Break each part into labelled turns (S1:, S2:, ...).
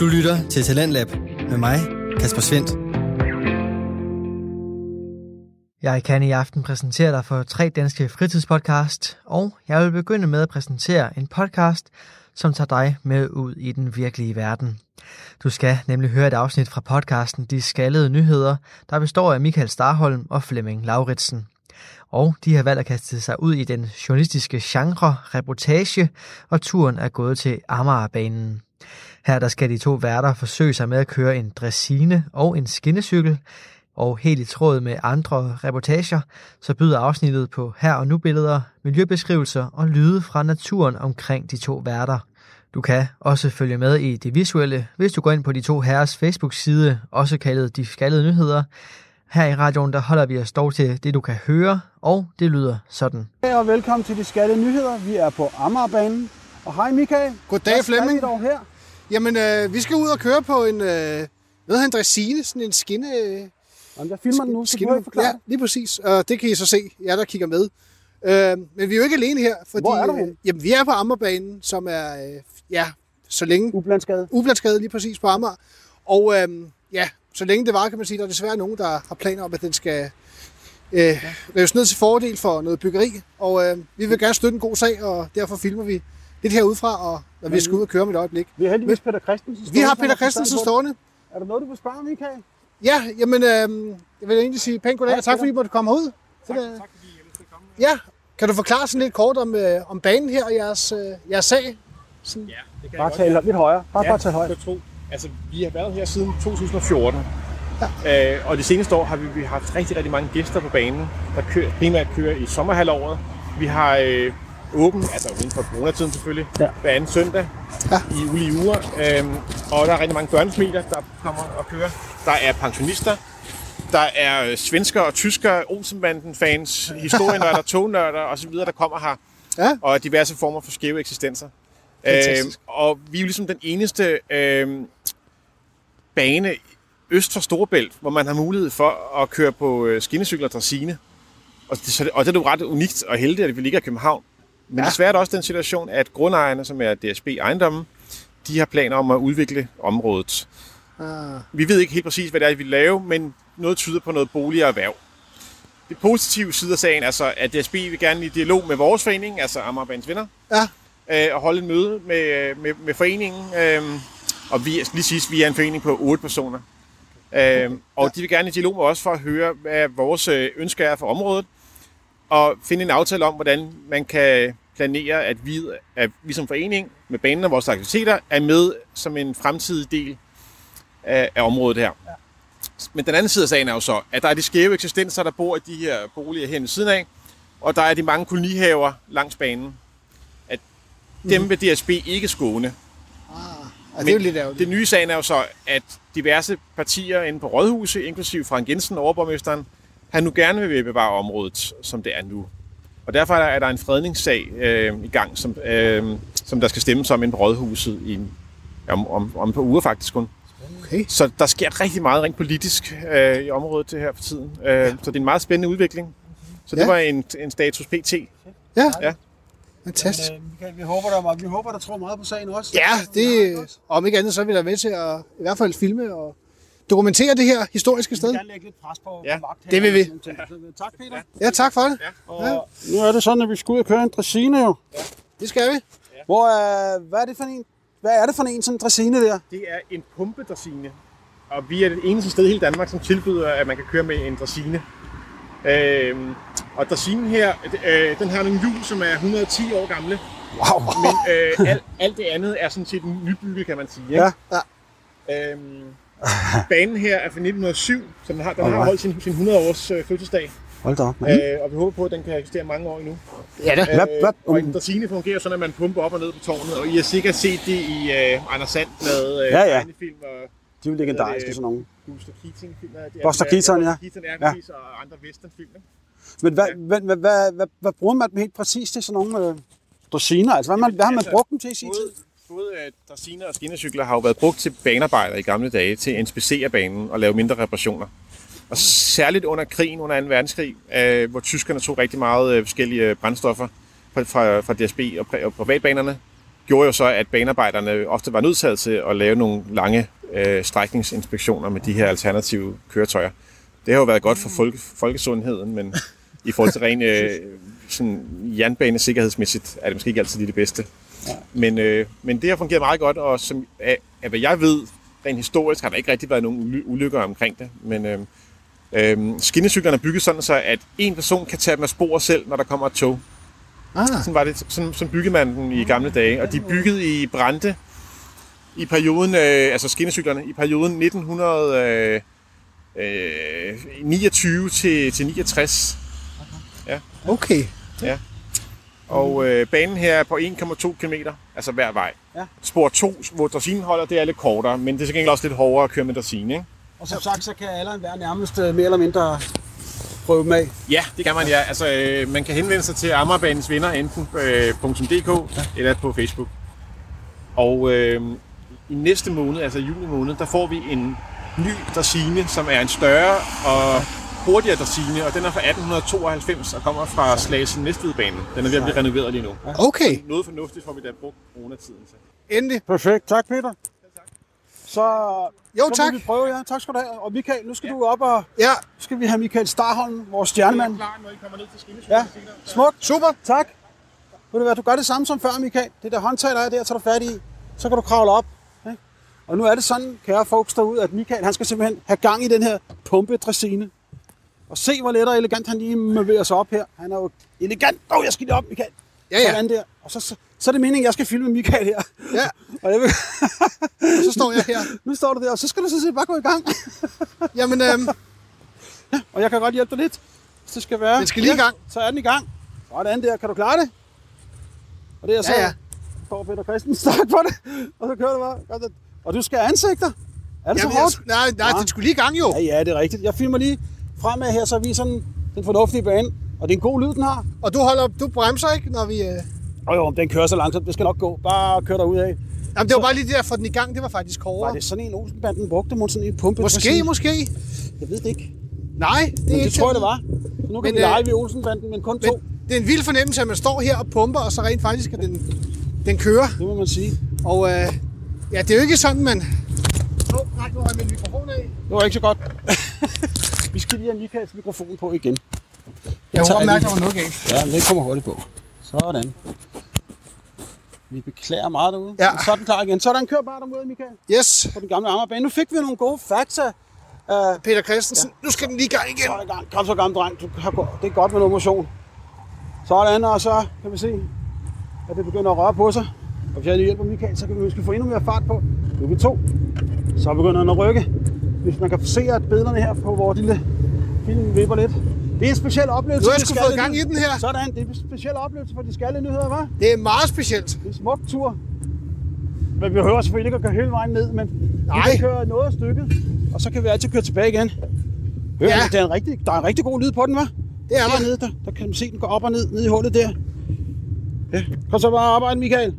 S1: Du lytter til Talentlab med mig, Kasper Svendt.
S2: Jeg kan i aften præsentere dig for tre danske fritidspodcast, og jeg vil begynde med at præsentere en podcast, som tager dig med ud i den virkelige verden. Du skal nemlig høre et afsnit fra podcasten De Skallede Nyheder, der består af Michael Starholm og Flemming Lauritsen. Og de har valgt at kaste sig ud i den journalistiske genre, reportage, og turen er gået til Amagerbanen. Her der skal de to værter forsøge sig med at køre en dressine og en skinnecykel, og helt i tråd med andre reportager, så byder afsnittet på her og nu billeder, miljøbeskrivelser og lyde fra naturen omkring de to værter. Du kan også følge med i det visuelle, hvis du går ind på de to herres Facebook-side, også kaldet De Skaldede Nyheder. Her i radioen, der holder vi os dog til det, du kan høre, og det lyder sådan.
S3: Hej og velkommen til De Skattede Nyheder. Vi er på Amagerbanen. Og hej Michael.
S4: Goddag,
S3: Hvad skal
S4: Flemming.
S3: vi dog her?
S4: Jamen, øh, vi skal ud og køre på en, øh, hvad hedder en dressine, sådan en skinne... Øh,
S3: Jamen, jeg filmer den nu, så du forklare.
S4: Ja, lige præcis. Og det kan I så se, jer der kigger med. Øh, men vi er jo ikke alene her, fordi...
S3: Hvor er du henne?
S4: øh, jamen, vi er på Ammerbanen, som er, øh, ja, så længe...
S3: Ublandsgade.
S4: Ublandsgade lige præcis på Amager. Og øh, ja, så længe det var, kan man sige, der er desværre nogen, der har planer om, at den skal øh, rives ned til fordel for noget byggeri. Og øh, vi vil gerne støtte en god sag, og derfor filmer vi lidt herudefra, og når vi skal ud og køre om et øjeblik.
S3: Vi har heldigvis Peter Christensen
S4: Vi
S3: stående,
S4: har
S3: som
S4: Peter
S3: forstand
S4: Christensen
S3: på den.
S4: stående.
S3: Er der noget, du vil spørge, Michael?
S4: Ja, jamen, øh, jeg vil egentlig sige pænt goddag,
S3: Hej,
S4: og tak fordi I måtte komme ud. Tak, tak fordi I komme. Ja, kan du forklare sådan lidt kort om, øh, om banen her og jeres, øh, jeres sag? Sådan.
S5: Ja, det kan
S3: Bare
S5: jeg
S3: tal lidt højere. Bare,
S5: godt.
S3: bare tal højt.
S5: skal du tro. Altså, vi har været her siden 2014. Ja. Øh, og de seneste år har vi, vi haft rigtig, rigtig mange gæster på banen, der kører, primært kører i sommerhalvåret. Vi har øh, åben, altså uden for coronatiden selvfølgelig,
S3: Ja.
S5: ja. hver anden søndag
S4: Ja.
S5: ja. i ulige uger. Øhm, og der er rigtig mange børnefamilier, der kommer og kører. Der er pensionister, der er øh, svensker og tysker, Olsenbanden-fans, historienørder, tognørder osv., der kommer her.
S4: Ja.
S5: Og diverse former for skæve eksistenser. Øhm,
S4: Fantastisk.
S5: og vi er jo ligesom den eneste øhm, bane øst for Storebælt, hvor man har mulighed for at køre på øh, skinnecykler og dressine. Og det, så det, og det er jo ret unikt og heldigt, at vi ligger i København. Men ja. desværre er der også den situation, at grundejerne, som er DSB Ejendommen, de har planer om at udvikle området.
S4: Ah,
S5: Vi ved ikke helt præcis, hvad det er, vi vil lave, men noget tyder på noget bolig og erhverv. Det positive side af sagen er så, at DSB vil gerne i dialog med vores forening, altså Amagerbanens Venner,
S4: Ja.
S5: øh, og holde et møde med, med, med foreningen. Øh, og vi, jeg skal lige siges, vi er en forening på otte personer. Øh, og de vil gerne i dialog med os for at høre, hvad vores øh, ønsker er for området, og finde en aftale om, hvordan man kan planere, at vi, at vi som forening med banen og vores aktiviteter er med som en fremtidig del af, af området her. Ja. Men den anden side af sagen er jo så, at der er de skæve eksistenser, der bor i de her boliger her ved siden af, og der er de mange kolonihaver langs banen. At dem vil DSB ikke skåne.
S4: ah, det er jo lidt ærgerligt.
S5: Det nye i sagen er jo så, at diverse partier inde på Rådhuset, inklusive Frank Jensen, overborgmesteren, han nu gerne vil bevare området, som det er nu. Og derfor er der, er der en fredningssag øh, i gang, som, øh, som der skal stemmes om inde på Rådhuset i, om, om, om et par uger faktisk kun.
S4: Okay.
S5: Så der sker rigtig meget rent politisk øh, i området det her for tiden. Øh, ja. Så det er en meget spændende udvikling. Så det
S4: Ja.
S5: var en, en status pt.
S4: Ja,
S5: Ja.
S4: fantastisk.
S3: øh, Michael, vi håber, der, vi håber, der tror meget på sagen også.
S4: Ja, det, øh, om ikke andet, så er vi da med til at i hvert fald filme og dokumentere det her historiske sted.
S3: lægge lidt pres på
S5: Ja,
S3: magthaverne
S4: det vil vi.
S3: og sådan nogle ting. Tak, Peter.
S4: Ja, tak for det.
S3: Og nu er det sådan, at vi skal ud og køre en dressine jo.
S4: Det skal vi.
S3: Hvor, øh, hvad er det for en? Hvad er det for en sådan en dressine der?
S5: Det er en pumpedressine, og vi er det eneste sted i hele Danmark, som tilbyder, at man kan køre med en dressine. Øhm, og dressinen her, øh, den har nogle hjul, som er 110 år gamle,
S3: Wow.
S5: men øh, alt, alt det andet er sådan set nybygget, kan man sige. Ikke?
S3: Ja.
S5: Øhm, banen her er fra 1907, så den har, den har
S3: Alright. Mhm.
S5: holdt sin, sin 100-års øh, fødselsdag.
S3: Hold da op. mand.
S5: Øh, og vi håber på, at den kan eksistere mange år endnu. Øh,
S4: Ja, da.
S3: Hvad- hvad-
S5: og
S4: øh,
S5: en dressine fungerer sådan, at man pumper op og ned på tårnet, og I har sikkert set det i øh, Anders Sand med øh,
S3: Ja, ja.
S5: tegnefilm og
S3: De er jo legendariske,
S5: Øh,
S3: sådan nogle.
S5: Buster Keating film. er det-
S3: Buster Keaton, ja.
S5: Buster Keaton er
S3: Ja.
S5: ja. og andre westernfilm. ikke?
S3: Men hvad,
S5: ja.
S3: hvad, hvad, hvad, hvad, hvad bruger man dem helt præcis til sådan nogle øh, dressiner? Altså, hvad, man,
S5: Jamen,
S3: hvad har man
S5: altså,
S3: brugt dem til i sin tid?
S5: Både, både øh, dressiner og skinnecykler har jo været brugt til banearbejdere i gamle dage til at inspicere banen og lave mindre reparationer. Og særligt under krigen, under 2. verdenskrig, øh, hvor øh, tyskerne tog rigtig meget øh, forskellige brændstoffer fra, fra, fra DSB og, pri- og privatbanerne, gjorde jo så, at banarbejderne ofte var nødsaget til at lave nogle lange øh, strækningsinspektioner med de her alternative køretøjer. Det har jo været godt
S3: Mm.
S5: for folke, folkesundheden, men i forhold til ren øh, sådan jernbanesikkerhedsmæssigt er det måske ikke altid lige det bedste. Men, øh, men det har fungeret meget godt, og som, af, af hvad jeg ved, rent historisk har der ikke rigtig været nogen uly- ulykker omkring det. Men øh, øh, skinnecyklerne er bygget sådan, så at en person kan tage dem af spor selv, når der kommer et tog.
S4: Ah,
S5: Sådan var det, sådan, sådan byggede man den i gamle dage. Og de byggede i Brande i perioden, øh, altså skinnecyklerne, i perioden 1929 til, til 69.
S4: okay.
S5: Og øh, banen her er på 1,2 km, altså hver vej.
S3: Ja.
S5: Spor 2, hvor dressinen holder, det er lidt kortere, men det er til gengæld også lidt hårdere at køre med dressinen, ikke?
S3: Og som sagt, så kan alle være nærmest øh, mere eller mindre prøve dem af.
S5: Ja, det kan man, ja. Altså, øh, man kan henvende sig til Amagerbanens venner, enten øh, .dk ja. eller på Facebook. Og øh, i næste måned, altså juni måned, der får vi en ny dressine, som er en større og hurtigere dressine, og den er fra 1892 og kommer fra Slagelse Næstvedbanen. Den er ved at blive renoveret lige nu.
S4: Okay,
S5: Noget fornuftigt får vi da brugt coronatiden til.
S4: endelig.
S3: Perfekt. Tak, Peter. Så,
S4: Jo,
S3: så
S4: tak.
S3: vil vi prøve, ja. Tak skal du have. Og Michael, nu skal ja. du op og
S4: Ja,
S3: nu skal vi have Michael Starholm, vores stjernemand.
S5: klar, når I kommer ned til Skillesøen
S3: Ja, smukt.
S4: super.
S3: Tak. Ved du hvad, du gør det samme som før, Michael. Det der håndtag, der er der, tager du fat i. Så kan du kravle op. Ikke? Og nu er det sådan, kære folks derude, at Michael, han skal simpelthen have gang i den her pumpedressine. Og se, hvor let og elegant han lige møverer sig op her. Han er jo elegant. Åh, oh, jeg skal lige op, Michael.
S4: Ja, ja.
S3: Sådan der. Og så, så, så er det meningen, at jeg skal filme Michael her.
S4: Ja,
S3: Og jeg vil,
S4: og så står jeg her.
S3: nu står du der, og så skal du sådan set bare gå i gang.
S4: Jamen, øhm,
S3: Og jeg kan godt hjælpe dig lidt, hvis det skal være.
S4: Den skal lige i gang.
S3: Ja, så er den i gang. Sådan der. Kan du klare det? Og det er så,
S4: Ja, ja.
S3: får Peter Christensen tak for det. Og så kører du bare. Gør det. Og du skal have ansigter. Er det
S4: jamen
S3: så hårdt?
S4: jeg, nej, nej, den skulle lige i gang jo.
S3: Ja, ja, det er rigtigt. Jeg filmer lige fremad her, så viser den den fornuftige bane. Og det er en god lyd, den har.
S4: Og du holder, du bremser ikke, når vi... Øh...
S3: Og jo, den kører så langsomt. Det skal nok gå. Bare kør dig ud af.
S4: Jamen, det var bare lige det der, for den i gang, det var faktisk
S3: Var
S4: hårdere.
S3: det sådan en Olsenbanden brugte mod sådan en pumpe?
S4: Måske, måske.
S3: Jeg ved det ikke.
S4: Nej, det er
S3: Men det
S4: ikke
S3: tror jeg, det
S4: sådan.
S3: var. Så nu kan
S4: Men,
S3: men, vi lege
S4: øh,
S3: ved Olsenbanden, men kun to.
S4: Men det er en vild fornemmelse, at man står her og pumper, og så rent faktisk, at den, den kører.
S3: Det må man sige.
S4: Og øh, ja, det er jo ikke sådan, man... Åh, oh, nej, nu har jeg min mikrofon af.
S3: Det var ikke så godt. vi skal lige have Michaels mikrofon på igen.
S4: Jeg
S3: tager
S4: håber, mærke,
S3: den.
S4: der var noget galt.
S3: Ja, men den kommer hurtigt på. Sådan. Vi beklager meget derude.
S4: Ja.
S3: Men Så er den klar igen. Sådan, kør bare derude, Michael,
S4: Yes,
S3: på den gamle Amagerbane. Nu fik vi nogle gode fakta. Uh,
S4: Peter Christensen, ja. nu skal den lige i gang igen.
S3: sådan, gang. Kom så, gammel dreng. Du har, go- det er godt med noget motion. Sådan, og så kan vi se, at det begynder at røre på sig. Og hvis jeg lige hjælper Michael, så kan vi måske få endnu mere fart på. Nu er vi to. Så begynder den at rykke. Hvis man kan se, at billederne her på vores lille film vipper lidt. Det er en speciel oplevelse.
S4: Nu har jeg
S3: for de
S4: sgu fået
S3: skalle
S4: gang i
S3: nyheder.
S4: den her.
S3: Sådan, det er en speciel oplevelse for de skalle nyheder, hva'?
S4: Det er meget specielt.
S3: Det er en smuk tur. Men vi behøver selvfølgelig ikke at køre hele vejen ned, men Nej.
S4: Nej.
S3: vi kan køre noget af stykket, og så kan vi altid køre tilbage igen. Hør,
S4: Ja.
S3: ja. der, er en rigtig, der er en rigtig god lyd på den, hva'?
S4: Det er der.
S3: Dernede, der, der kan man se, den går op og ned, ned i hullet der. Ja. Kom så bare arbejde, Michael.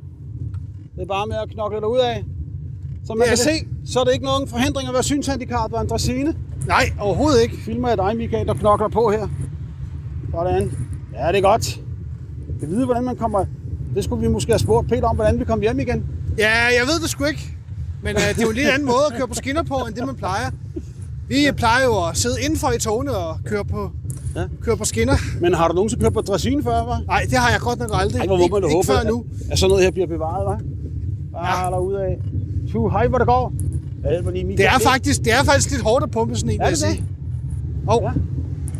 S3: Det er bare med at knokle dig ud af. Som man
S4: Det er
S3: kan se, så er det ikke nogen forhindring at være synshandicap og en dressine.
S4: Nej, overhovedet ikke.
S3: Filmer jeg dig, Michael, der knokler på her. Sådan. Ja, det er godt. Jeg ved, hvordan man kommer... Det skulle vi måske have spurgt Peter om, hvordan vi kom hjem igen.
S4: Ja, jeg ved det sgu ikke. Men øh, det er jo en lidt anden måde at køre på skinner på, end det man plejer. Vi plejer jo at sidde indenfor i togene og køre på,
S3: Ja.
S4: ja. køre på skinner.
S3: Men har du nogensinde kørt på dressine før, hva'?
S4: Nej, det har jeg godt nok aldrig.
S3: Ej, hvor må man da
S4: ikke,
S3: håbe,
S4: ikke før
S3: at,
S4: nu.
S3: at sådan noget her bliver bevaret, hva'? Bare ja. derude af. Tu, hej, hvor det går. Jeg hjælper lige Michael.
S4: Det er,
S3: lidt.
S4: faktisk, det er faktisk lidt hårdt at pumpe sådan en,
S3: Er
S4: vil
S3: det
S4: jeg
S3: det?
S4: sige. Og,
S3: Ja.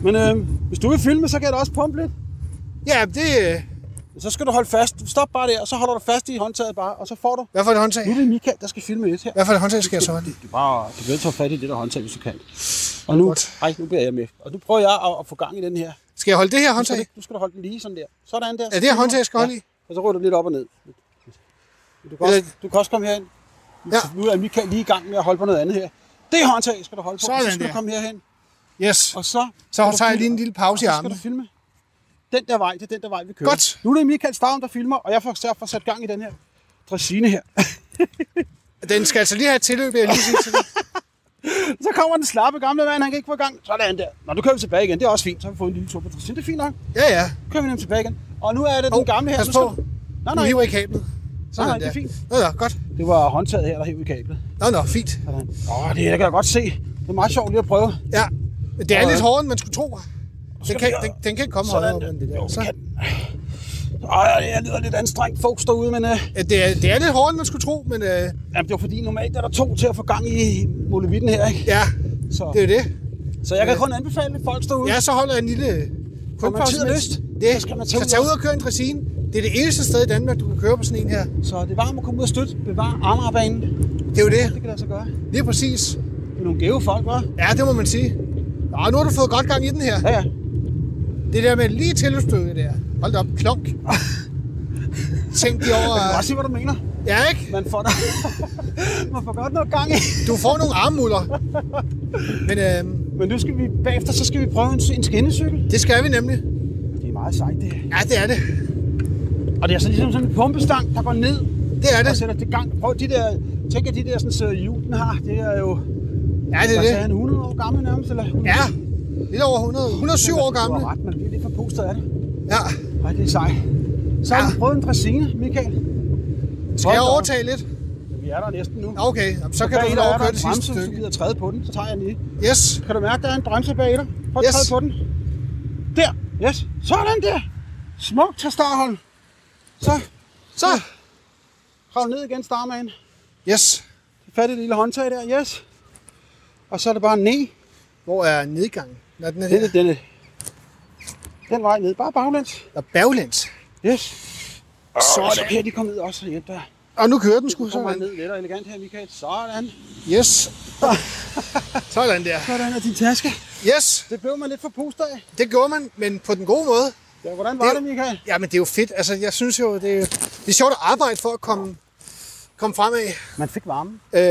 S3: Men øh, hvis du vil filme, så kan jeg da også pumpe lidt.
S4: ja, det... øh,
S3: Så skal du holde fast. Stop bare der, og så holder du fast i håndtaget bare, og så får du.
S4: Hvad for et håndtag?
S3: Nu er det Michael, der skal filme lidt her.
S4: Hvad for et håndtag skal jeg så holde i?
S3: Du, bare, du kan tage fat i det der håndtag, hvis du kan. Og nu,
S4: Godt.
S3: ej, nu bliver jeg med. Og nu prøver jeg at, at få gang i den her.
S4: Skal jeg holde det her
S3: Nu skal,
S4: håndtag?
S3: du, nu skal du holde den lige sådan der. Sådan der.
S4: Er det her håndtag, jeg skal holde i?
S3: Og så ruller du lidt op og ned. Du kan også, du kan også komme herhen.
S4: Ja.
S3: Nu er Michael lige i gang med at holde på noget andet her. Det håndtag skal du holde på.
S4: Sådan
S3: så skal
S4: der.
S3: du komme herhen.
S4: Yes.
S3: Og så...
S4: Så
S3: skal du
S4: tager jeg
S3: filme.
S4: lige en lille pause i
S3: Og så
S4: armen.
S3: skal du filme. Den der vej, det er den der vej, vi kører.
S4: Godt.
S3: Nu er det Michael Stavn, der filmer, og jeg får, så får sat gang i den her dressine her.
S4: Den skal altså lige have et tilløb, vil jeg lige sige til det.
S3: så kommer den slappe gamle mand, han kan ikke få gang. Sådan der. Nå, nu kører vi tilbage igen. Det er også fint. Så har vi fået en lille tur på dressine. Det er fint nok.
S4: Ja, ja.
S3: Nu kører vi nemlig tilbage igen. Og nu er det
S4: Hov,
S3: den gamle her.
S4: pas
S3: Nu skal
S4: på.
S3: du- Nej,
S4: Du
S3: nej.
S4: hiver i kablet.
S3: Nej,
S4: Sådan
S3: nej, det
S4: der.
S3: er fint.
S4: Nå, ja, godt.
S3: Det var håndtaget her, der hævde i kablet.
S4: Nå, nå, fint.
S3: Sådan. Åh, det kan jeg godt se. Det er meget sjovt lige at prøve.
S4: Ja, men det er
S3: Og-
S4: lidt hårdere, end man skulle tro. Den
S3: skal
S4: kan,
S3: vi gøre-
S4: den, den kan ikke komme
S3: Sådan
S4: højere,
S3: der.
S4: men det der.
S3: Jo,
S4: Så,
S3: kan. Ej, jeg lyder lidt anstrengt folks derude, men øh,
S4: ja, det, er, det er lidt hårdere, end man skulle tro, men øh,
S3: jamen, det var fordi normalt er der to til at få gang i molevitten her, ikke?
S4: ja,
S3: Så,
S4: det er jo det.
S3: så jeg kan kun anbefale folk derude.
S4: Ja, så holder jeg en lille
S3: Har man
S4: kunstpause.
S3: tid og lyst,
S4: Det,
S3: så skal man tage
S4: så
S3: ud
S4: tag
S3: og-
S4: ud og køre en dressin. Det er det eneste sted i Danmark, du kan køre på sådan en her.
S3: Så det er varmt at komme ud og støtte. Bevar Amagerbanen.
S4: Det er jo det.
S3: Det kan der så gøre.
S4: Det er præcis.
S3: Det er nogle gave folk, hva'?
S4: Ja, det må man sige. Nå, nu har du fået godt gang i den her.
S3: Ja, ja.
S4: Det der med lige tilløbsstykket der. Hold da op, klonk. Tænk de over...
S3: Jeg kan godt se, hvad du mener.
S4: Ja, ikke?
S3: Man får, der... man får godt noget gang i.
S4: Du får nogle armmuller. Men øh,
S3: Men nu skal vi bagefter, så skal vi prøve en, en skinnecykel.
S4: det skal vi nemlig.
S3: Det er meget sejt, det her.
S4: Ja, det er det.
S3: Og det er så ligesom sådan en pumpestang, der går ned
S4: Det er det.
S3: og sætter til gang. Prøv de der, tænk at de der sådan, så hjul, den har, det er jo,
S4: Ja,
S3: hvad
S4: det er
S3: sagde
S4: det.
S3: han, 100 år gammel nærmest, eller?
S4: Ja, lidt over 100. 107 år
S3: Du
S4: gammel.
S3: har ret, man bliver lidt forpustet af det.
S4: Ja,
S3: Ej, det er sejt. Så har
S4: Ja.
S3: vi prøvet en dressine, Michael.
S4: skal jeg overtage lidt?
S3: Vi er der næsten nu.
S4: Nå, Okay, jamen, så kan
S3: bag
S4: du få
S3: dig
S4: lov
S3: er der
S4: at køre
S3: en
S4: det sidste
S3: bremse, Hvis du
S4: stykke.
S3: gider træde på den, så tager jeg den i.
S4: Yes,
S3: Kan du mærke, der er en bremse bag dig? Prøv at
S4: Yes.
S3: træde på den. Der. Yes. Sådan der. Smukt til starthold. Så
S4: så.
S3: kravl ned igen, starmagen.
S4: Yes.
S3: Fat i det lille håndtag der. Yes. Og så er det bare ned.
S4: Hvor er nedgangen? Nå, den er
S3: Den,
S4: her.
S3: den, den vej ned. Bare baglæns.
S4: Der er baglæns.
S3: Yes.
S4: Sådan.
S3: Så kan de komme ud også og hjælpe dig.
S4: Og nu kører den sgu
S3: Du
S4: så.
S3: kommer man ned lidt og elegant her, Michael. Sådan.
S4: Yes. Sådan der.
S3: Sådan er din taske.
S4: Yes,
S3: Det blev man lidt for pustet af.
S4: det gjorde man, men på den gode måde.
S3: Ja, hvordan var det,
S4: Det-
S3: det Michael?
S4: Ja, men det er jo fedt. Altså, jeg synes jo, det er, jo- det er sjovt at arbejde for at komme, komme fremad.
S3: Man fik varmen.
S4: Øh,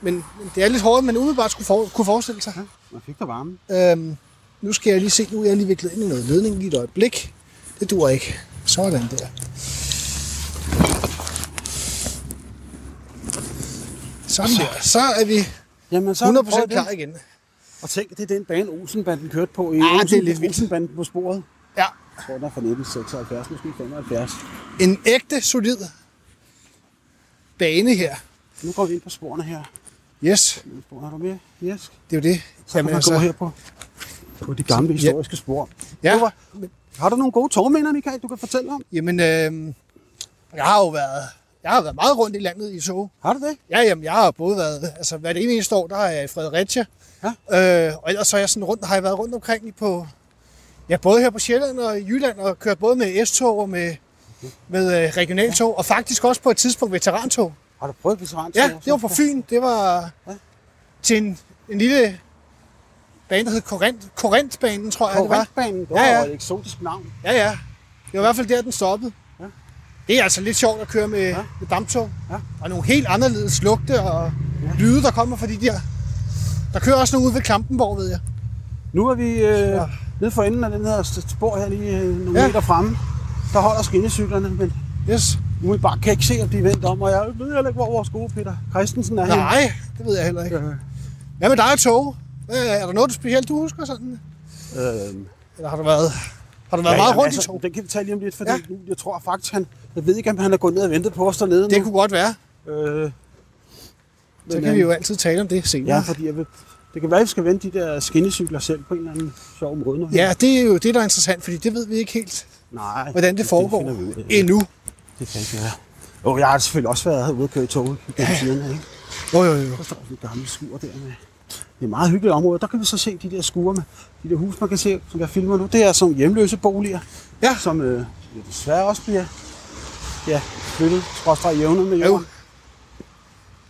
S4: men men det er lidt hårdt, man umiddelbart skulle for, kunne forestille sig.
S3: Man fik der varmen.
S4: Øhm, nu skal jeg lige se, nu er jeg lige viklet ind i noget ledning lige et øjeblik. Det dur ikke. Sådan der. Sådan der. Så er vi
S3: Jamen, så har vi prøvet
S4: 100%
S3: det.
S4: klar igen.
S3: Og tænk, det er den bane, Olsenbanden kørte på i
S4: Ah, det er lidt vildt.
S3: Olsenbanden på sporet.
S4: Ja.
S3: Jeg tror, den er fra 1976, måske 75.
S4: En ægte, solid bane her.
S3: Nu går vi ind på sporene her.
S4: Yes,
S3: Spor, er du med? Yes.
S4: det er jo det.
S3: Så Jamen, man altså... går her på, på de gamle historiske ja. spor.
S4: Ja.
S3: Har du nogle gode tårminder, Michael, du kan fortælle om?
S4: Jamen, øh, jeg har jo været, jeg har været meget rundt i landet i tog.
S3: Har du det?
S4: Ja, jamen, jeg har både været, altså hver det ene eneste år, der er jeg i Fredericia.
S3: Ja.
S4: Øh, og ellers så er jeg sådan rundt, har jeg været rundt omkring i på, ja, både her på Sjælland og i Jylland, og kørt både med S-tog og med, med øh, regionaltog, og faktisk også på et tidspunkt veterantog.
S3: Har du prøvet veteran?
S4: Ja, det var på Fyn. Det var til en, en lille bane, der hed Korinth, Korinthbanen, tror jeg, det var.
S3: Korintbanen, det var
S4: Ja,
S3: ja,
S4: ja.
S3: ja. et eksotisk navn.
S4: Ja, ja. Det var i hvert fald der, den stoppede.
S3: Ja.
S4: Ja. Det er altså lidt sjovt at køre med, ja. med damptog.
S3: Ja.
S4: Ja. Og nogle helt anderledes lugte og lyde, der kommer fra de der. Der kører også nogle ude ved Klampenborg, ved jeg.
S3: Nu er vi øh, ja.
S4: Ja.
S3: nede for enden af den her st- spor her lige øh, nogle ja.
S4: Ja.
S3: meter fremme. Der holder skinnecyklerne, men
S4: Yes.
S3: umiddelbart kan jeg ikke se, om de er vendt om. Og jeg ved heller ikke, hvor vores gode Peter Christensen er henne.
S4: Nej, det ved jeg heller ikke.
S3: Øh,
S4: Hvad med dig og tog? Hvad- Er der noget du specielt, du husker sådan?
S3: øhm,
S4: Eller har du været, har du været ja, meget
S3: jamen, altså,
S4: rundt i tog?
S3: Den kan vi tale lige om lidt, fordi ja.
S4: Ja.
S3: nu, jeg tror faktisk, han, jeg ved ikke, om han er gået ned og ventet på os dernede
S4: Det
S3: nu.
S4: kunne godt være.
S3: Øh,
S4: Så
S3: men,
S4: kan vi
S3: øh,
S4: jo altid tale om det
S3: Ja,
S4: senere.
S3: fordi jeg vil, det kan være, at vi skal vende de der skinnecykler selv på en eller anden sjov måde. Nu.
S4: Ja, det er jo det, der er interessant, fordi det ved vi ikke helt,
S3: Nej,
S4: hvordan det foregår
S3: Det, finder vi ud af.
S4: endnu.
S3: det kan ikke være. Jo, jeg har selvfølgelig også været ude og køre i toget gennem tiden. Ikke?
S4: Jo, jo, jo.
S3: Der står sådan et gammelt skur der med. Det er et meget hyggeligt område. Der kan vi så se de der skure med de der hus, man kan se, som jeg filmer nu. Det er som hjemløse boliger,
S4: Ja.
S3: som øh, ja, desværre også bliver ja, flyttet, skråstrej jævnet med jorden.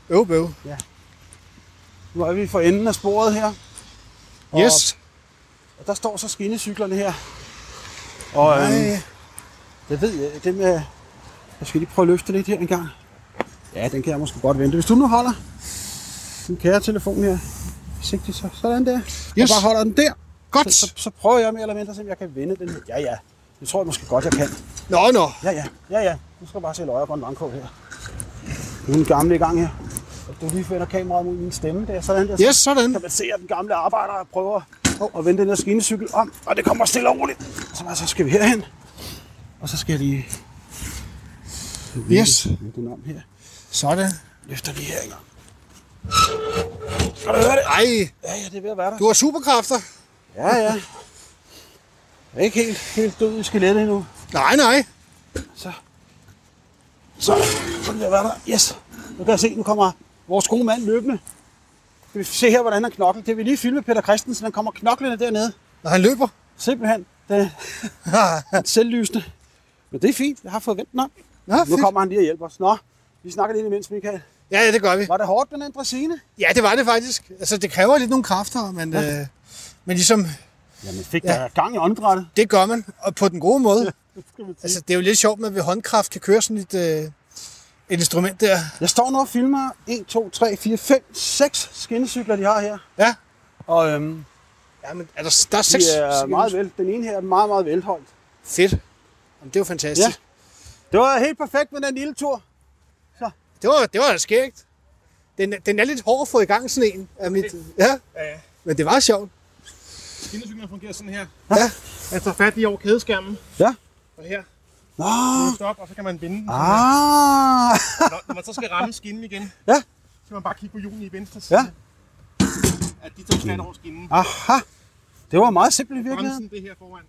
S4: Øv, bøv.
S3: Nu er vi for enden af sporet her, Og-
S4: Yes.
S3: og der står så skinnecyklerne her. Og, øhm,
S4: Ej.
S3: Jeg ved, øh, den er... Jeg skal lige prøve at løfte lidt her en gang. Ja, den kan jeg måske godt vente. Hvis du nu holder din kære telefon her, sigtigt så, sådan der, yes. og
S4: Yes.
S3: bare holder den der, så,
S4: Godt.
S3: så, så, prøver jeg mere eller mindre, om jeg kan vende den her. Ja, ja. Det tror jeg måske godt, jeg kan.
S4: Nå, nå.
S3: Ja, ja. Ja, ja. Nu skal jeg bare se løjer på en langkog her. Nu er den gamle i gang her. Og Du lige vender kameraet mod min stemme der, sådan der. Så
S4: Yes, sådan.
S3: Altså, kan man se, at den gamle arbejder prøver at vende den her skinnecykel om, og det kommer stille og roligt. Så, så skal vi herhen, og så skal jeg lige
S4: Yes.
S3: Med den om her.
S4: Sådan.
S3: Løfter lige her engang.
S4: Ej,
S3: Ja, ja, det er ved at være der.
S4: du har superkræfter.
S3: Ja, ja. Jeg er ikke helt, helt død i skelettet endnu.
S4: Nej, nej.
S3: Så. Så. Så kan jeg være der. Yes. Nu kan jeg se, nu kommer vores gode mand løbende. Kan vi se her, hvordan han knokler. Det vil lige filme Peter Christensen. Han kommer knoklende dernede.
S4: Når han løber.
S3: Simpelthen. Den er selvlysende. Men det er fint. Jeg har fået vendt den om.
S4: Nå,
S3: Nu
S4: fedt.
S3: kommer han lige og hjælper os. Nå, vi snakker lidt imens, Michael.
S4: Ja, ja, det gør vi.
S3: Var det hårdt, den anden dræsine?
S4: Ja, det var det faktisk. Altså, det kræver lidt nogle kræfter, men, ja. øh, men ligesom,
S3: Jamen, fik
S4: Ja.
S3: ja. der gang i åndedrættet.
S4: det gør man, og på den gode måde.
S3: Altså,
S4: Altså, det er jo lidt sjovt, at man ved håndkraft kan køre sådan et, øh, et instrument der.
S3: jeg står nu og filmer 1, 2, 3, 4, 5, 6 skinnecykler, de har her.
S4: Ja,
S3: Og øhm,
S4: ja men er der, der er
S3: de
S4: seks.
S3: er meget vel. Den ene her er meget, meget velholdt.
S4: Fedt. Jamen, det var fantastisk.
S3: Ja. Det var helt perfekt med den lille tur.
S4: Det var, det var skægt. Den, den er lidt hård at få i gang, sådan en. Af mit, ja,
S5: Ja, ja.
S4: men det var sjovt.
S5: Skinnecyklen fungerer sådan her.
S4: Ja.
S5: Man tager fat i over kædeskærmen.
S3: Ja.
S5: Og her.
S3: Nå.
S5: Løft op, og så kan man binde
S3: Ah.
S5: den. Når, når man så skal ramme skinnen igen,
S3: Ja.
S5: så kan man bare kigge på hjulene i venstre side.
S3: Ja.
S5: At de to skal over skinnen.
S3: Aha. Det var meget simpelt i virkeligheden.
S5: Bremsen, det her foran.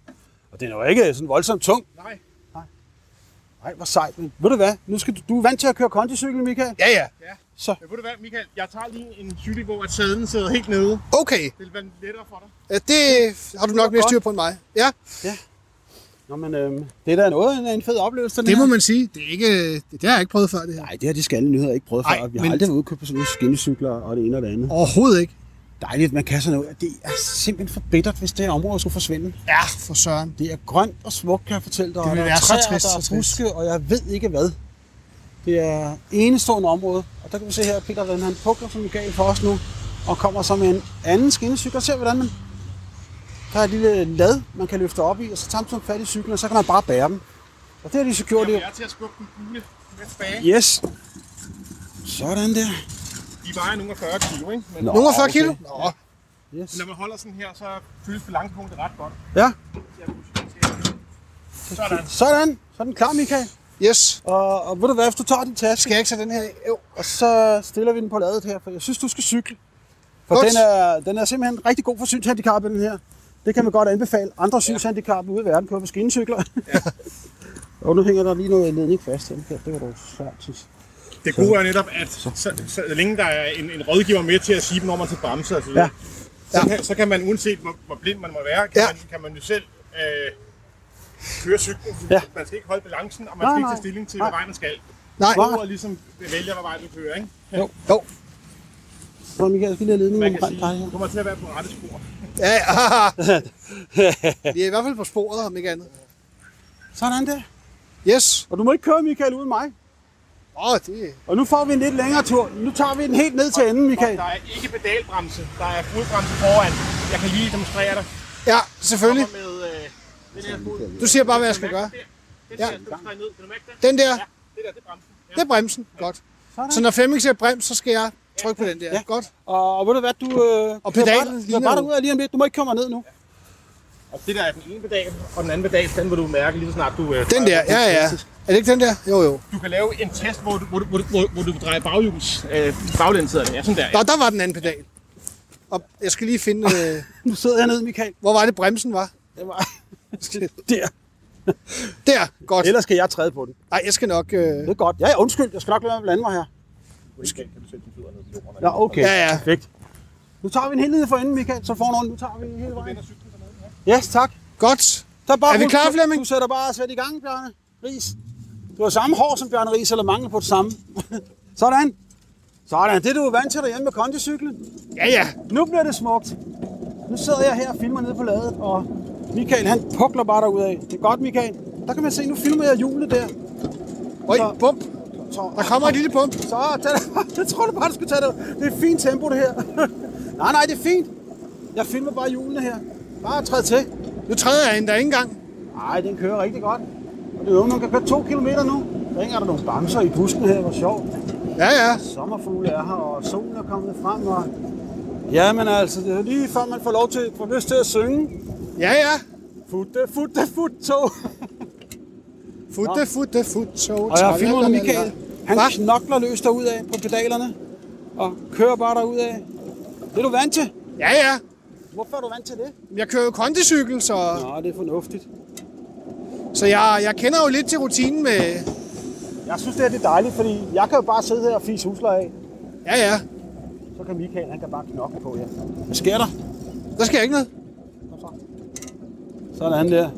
S3: Og den var ikke sådan voldsomt tung.
S5: Nej.
S3: Nej, hvor sejt. Men ved du hvad? Nu skal du, du er vant til at køre kondicykel, Michael.
S4: Ja, ja.
S5: Men ved du hvad, Michael? Jeg tager lige en cykel, hvor at sæden sidder helt nede.
S4: Okay,
S5: Det vil være lettere for dig.
S4: ja, Øh, det har du nok mere styr på end mig. Ja,
S3: Nå, men øhm, det er da noget af en fed oplevelse, den
S4: det
S3: her.
S4: må man sige. Det, er ikke, det, det har jeg ikke prøvet før, det her.
S3: Nej, det har de skalle nyheder ikke prøvet
S4: Ej,
S3: før. Vi har
S4: men-
S3: aldrig været ude på sådan nogle skinnecykler og det ene og det andet.
S4: Overhovedet ikke.
S3: Dejligt, man kan sådan noget. Det er simpelthen for bittert, hvis det her område skulle forsvinde.
S4: Ja, for søren.
S3: Det er grønt og smukt, kan jeg fortælle dig.
S4: Det ville
S3: og der er
S4: være så
S3: træer,
S4: trist,
S3: der er
S4: så trist.
S3: buske, og jeg ved ikke hvad. Det er enestående område. Og der kan vi se her, at Peter den, han pukler som en gal for os nu. Og kommer så med en anden skinnecykel. Og ser, hvordan man... Der er et lille lad, man kan løfte op i, og så tager man sådan fat i cyklen, og så kan man bare bære dem. Og det har de så gjort.
S5: Jeg
S3: Det.
S5: er til at skubbe den gule med tilbage.
S3: Yes. Sådan der.
S5: De vejer nogle af 40 kilo, ikke? Men
S3: Nå,
S4: Nogle af 40
S3: okay.
S4: kilo? Nå,
S3: Yes.
S5: når man holder sådan her, så fyldes balancepunktet ret godt.
S3: Ja,
S5: Sådan.
S3: sådan. Så er den klar, Michael.
S4: yes.
S3: Og, og ved du hvad, hvis du tager din taske,
S4: Skal jeg ikke tage den her? af? Jo.
S3: og så stiller vi den på ladet her, for jeg synes, du skal cykle. For
S4: Godt.
S3: den er, den er simpelthen rigtig god for synshandicappede, den her. Det kan man godt anbefale. Andre synshandicappede ude i verden kører på skinnecykler. Ja. og nu hænger der lige noget ledning fast. her, Michael. Det var dog svært. synes jeg.
S5: Det gode er netop, at så, så, så længe der er en, en rådgiver med til at sige, når man skal bremse og så videre,
S3: Ja.
S5: så, kan, så kan man, uanset hvor, hvor blind man må være, kan,
S4: Ja.
S5: ja. man, kan man jo selv øh, køre cyklen.
S3: Ja.
S5: Ja. Man skal ikke holde balancen, og man
S3: Nej,
S5: skal ikke
S3: nej.
S5: tage stilling til,
S3: Nej.
S5: hvad vej man skal.
S4: Nej.
S5: Bordet ligesom vælger, hvad vej du kører, ikke?
S4: Jo.
S3: Så Michael, skal lige have ledningen
S5: Man kan
S3: omkring
S5: sige,
S3: dig
S5: du
S3: her.
S5: kommer til at være på rette spor.
S4: Ja, ja. haha. Vi er i hvert fald på sporet, om ikke andet.
S3: Sådan der.
S4: Yes.
S3: Og du må ikke køre, Michael, uden mig.
S4: Åh, oh, det...
S3: Og nu får vi en lidt længere tur. Nu tager vi den helt ned til enden,
S5: Og
S3: Michael.
S5: der er ikke pedalbremse, der er fodbremse foran. Jeg kan lige demonstrere dig.
S4: Ja, selvfølgelig.
S5: Kommer med øh, den her fod.
S4: Du siger bare, hvad jeg skal gøre.
S5: Den
S4: Ja.
S5: der, den træder ned. Kan du mærke det?
S4: Den der,
S5: Ja, det der, det er bremsen.
S4: det
S5: Ja.
S4: er bremsen. Godt. Så når Flemming siger brems, så skal jeg trykke på den der.
S3: Ja.
S4: Godt.
S3: Og, og ved du hvad, du øh, og
S4: pedalen
S3: bare,
S4: ligner
S3: bare
S4: jo-
S3: derude lige om lidt. Du må ikke køre mig ned nu.
S5: Og det der er den ene pedal, og den anden pedal, den vil du mærke lige så snart du... Øh,
S4: Den der, ja, ja. Er det ikke den der? Jo, jo.
S5: Du kan lave en test, hvor du, hvor du, hvor du, hvor, hvor du drejer baghjuls, øh, baglæns hedder det. Ja, sådan der.
S4: Nå,
S5: Ja.
S4: der var den anden pedal. Og jeg skal lige finde, øh,
S3: Nu sidder jeg ned, Michael.
S4: hvor var det bremsen var?
S3: Det var der.
S4: Der, godt.
S3: Ellers skal jeg træde på den.
S4: Nej, jeg skal nok... Øh,
S3: Det er godt. Ja, ja, undskyld. Jeg skal nok lade være med at blande mig her.
S5: Kan du sætte dine fødder ned til jorden?
S3: Ja, okay.
S4: ja, ja.
S3: Perfekt. Nu tager vi den helt ned for enden, Michael. Så får nogen. Nu tager vi den hele vejen. Yes, tak.
S4: Godt.
S3: Der bare
S4: Er vi
S3: husk-
S4: klar, Flemming?
S3: Du sætter bare svært i gang, Bjarne Ries. Du har samme hår som Bjarne Ries, eller mangel på det samme. Sådan. Sådan. Det er du jo vant til derhjemme med kondicyklen.
S4: Ja, ja.
S3: Nu bliver det smukt. Nu sidder jeg her og filmer nede på ladet, og Michael han pukler bare derudad. Det er godt, Michael. Der kan man se, nu filmer jeg hjulet der.
S4: Øj,
S3: Så-
S4: bump.
S3: Så,
S4: Der kommer et lille bump.
S3: Så tag det bare. Jeg tror du bare, du skulle tage det. Det er et fint tempo, det her. nej, nej, det er fint. Jeg filmer bare hjulene her. Bare træd til.
S4: Nu træder jeg hende der ikke engang.
S3: Nej, den kører rigtig godt. Og det er jo, man kan køre to kilometer nu. Der hænger der nogle bamser i busken her, hvor sjovt.
S4: Ja, ja.
S3: Sommerfugle er her, og solen er kommet frem. Og... Jamen altså, det er lige før man får lov til, får lyst til at synge.
S4: Ja, ja.
S3: Futte, futte, futte tog.
S4: Futte, futte, futte, så
S3: Og jeg har filmet med Michael. Han Hva? knokler løs derudad på pedalerne, og kører bare derudad. Det er du vant til.
S4: Ja, ja.
S3: Hvorfor er du vant til det?
S4: Jeg kører jo kondicykel, så,
S3: Nå, det er fornuftigt.
S4: så jeg, jeg kender jo lidt til rutinen med...
S3: Jeg synes, det er det er dejligt, fordi jeg kan jo bare sidde her og fise husler af.
S4: Ja, ja.
S3: Så kan Michael, han kan bare knokle på jer. Hvad sker der?
S4: Der sker ikke noget.
S3: Kom så. Sådan der.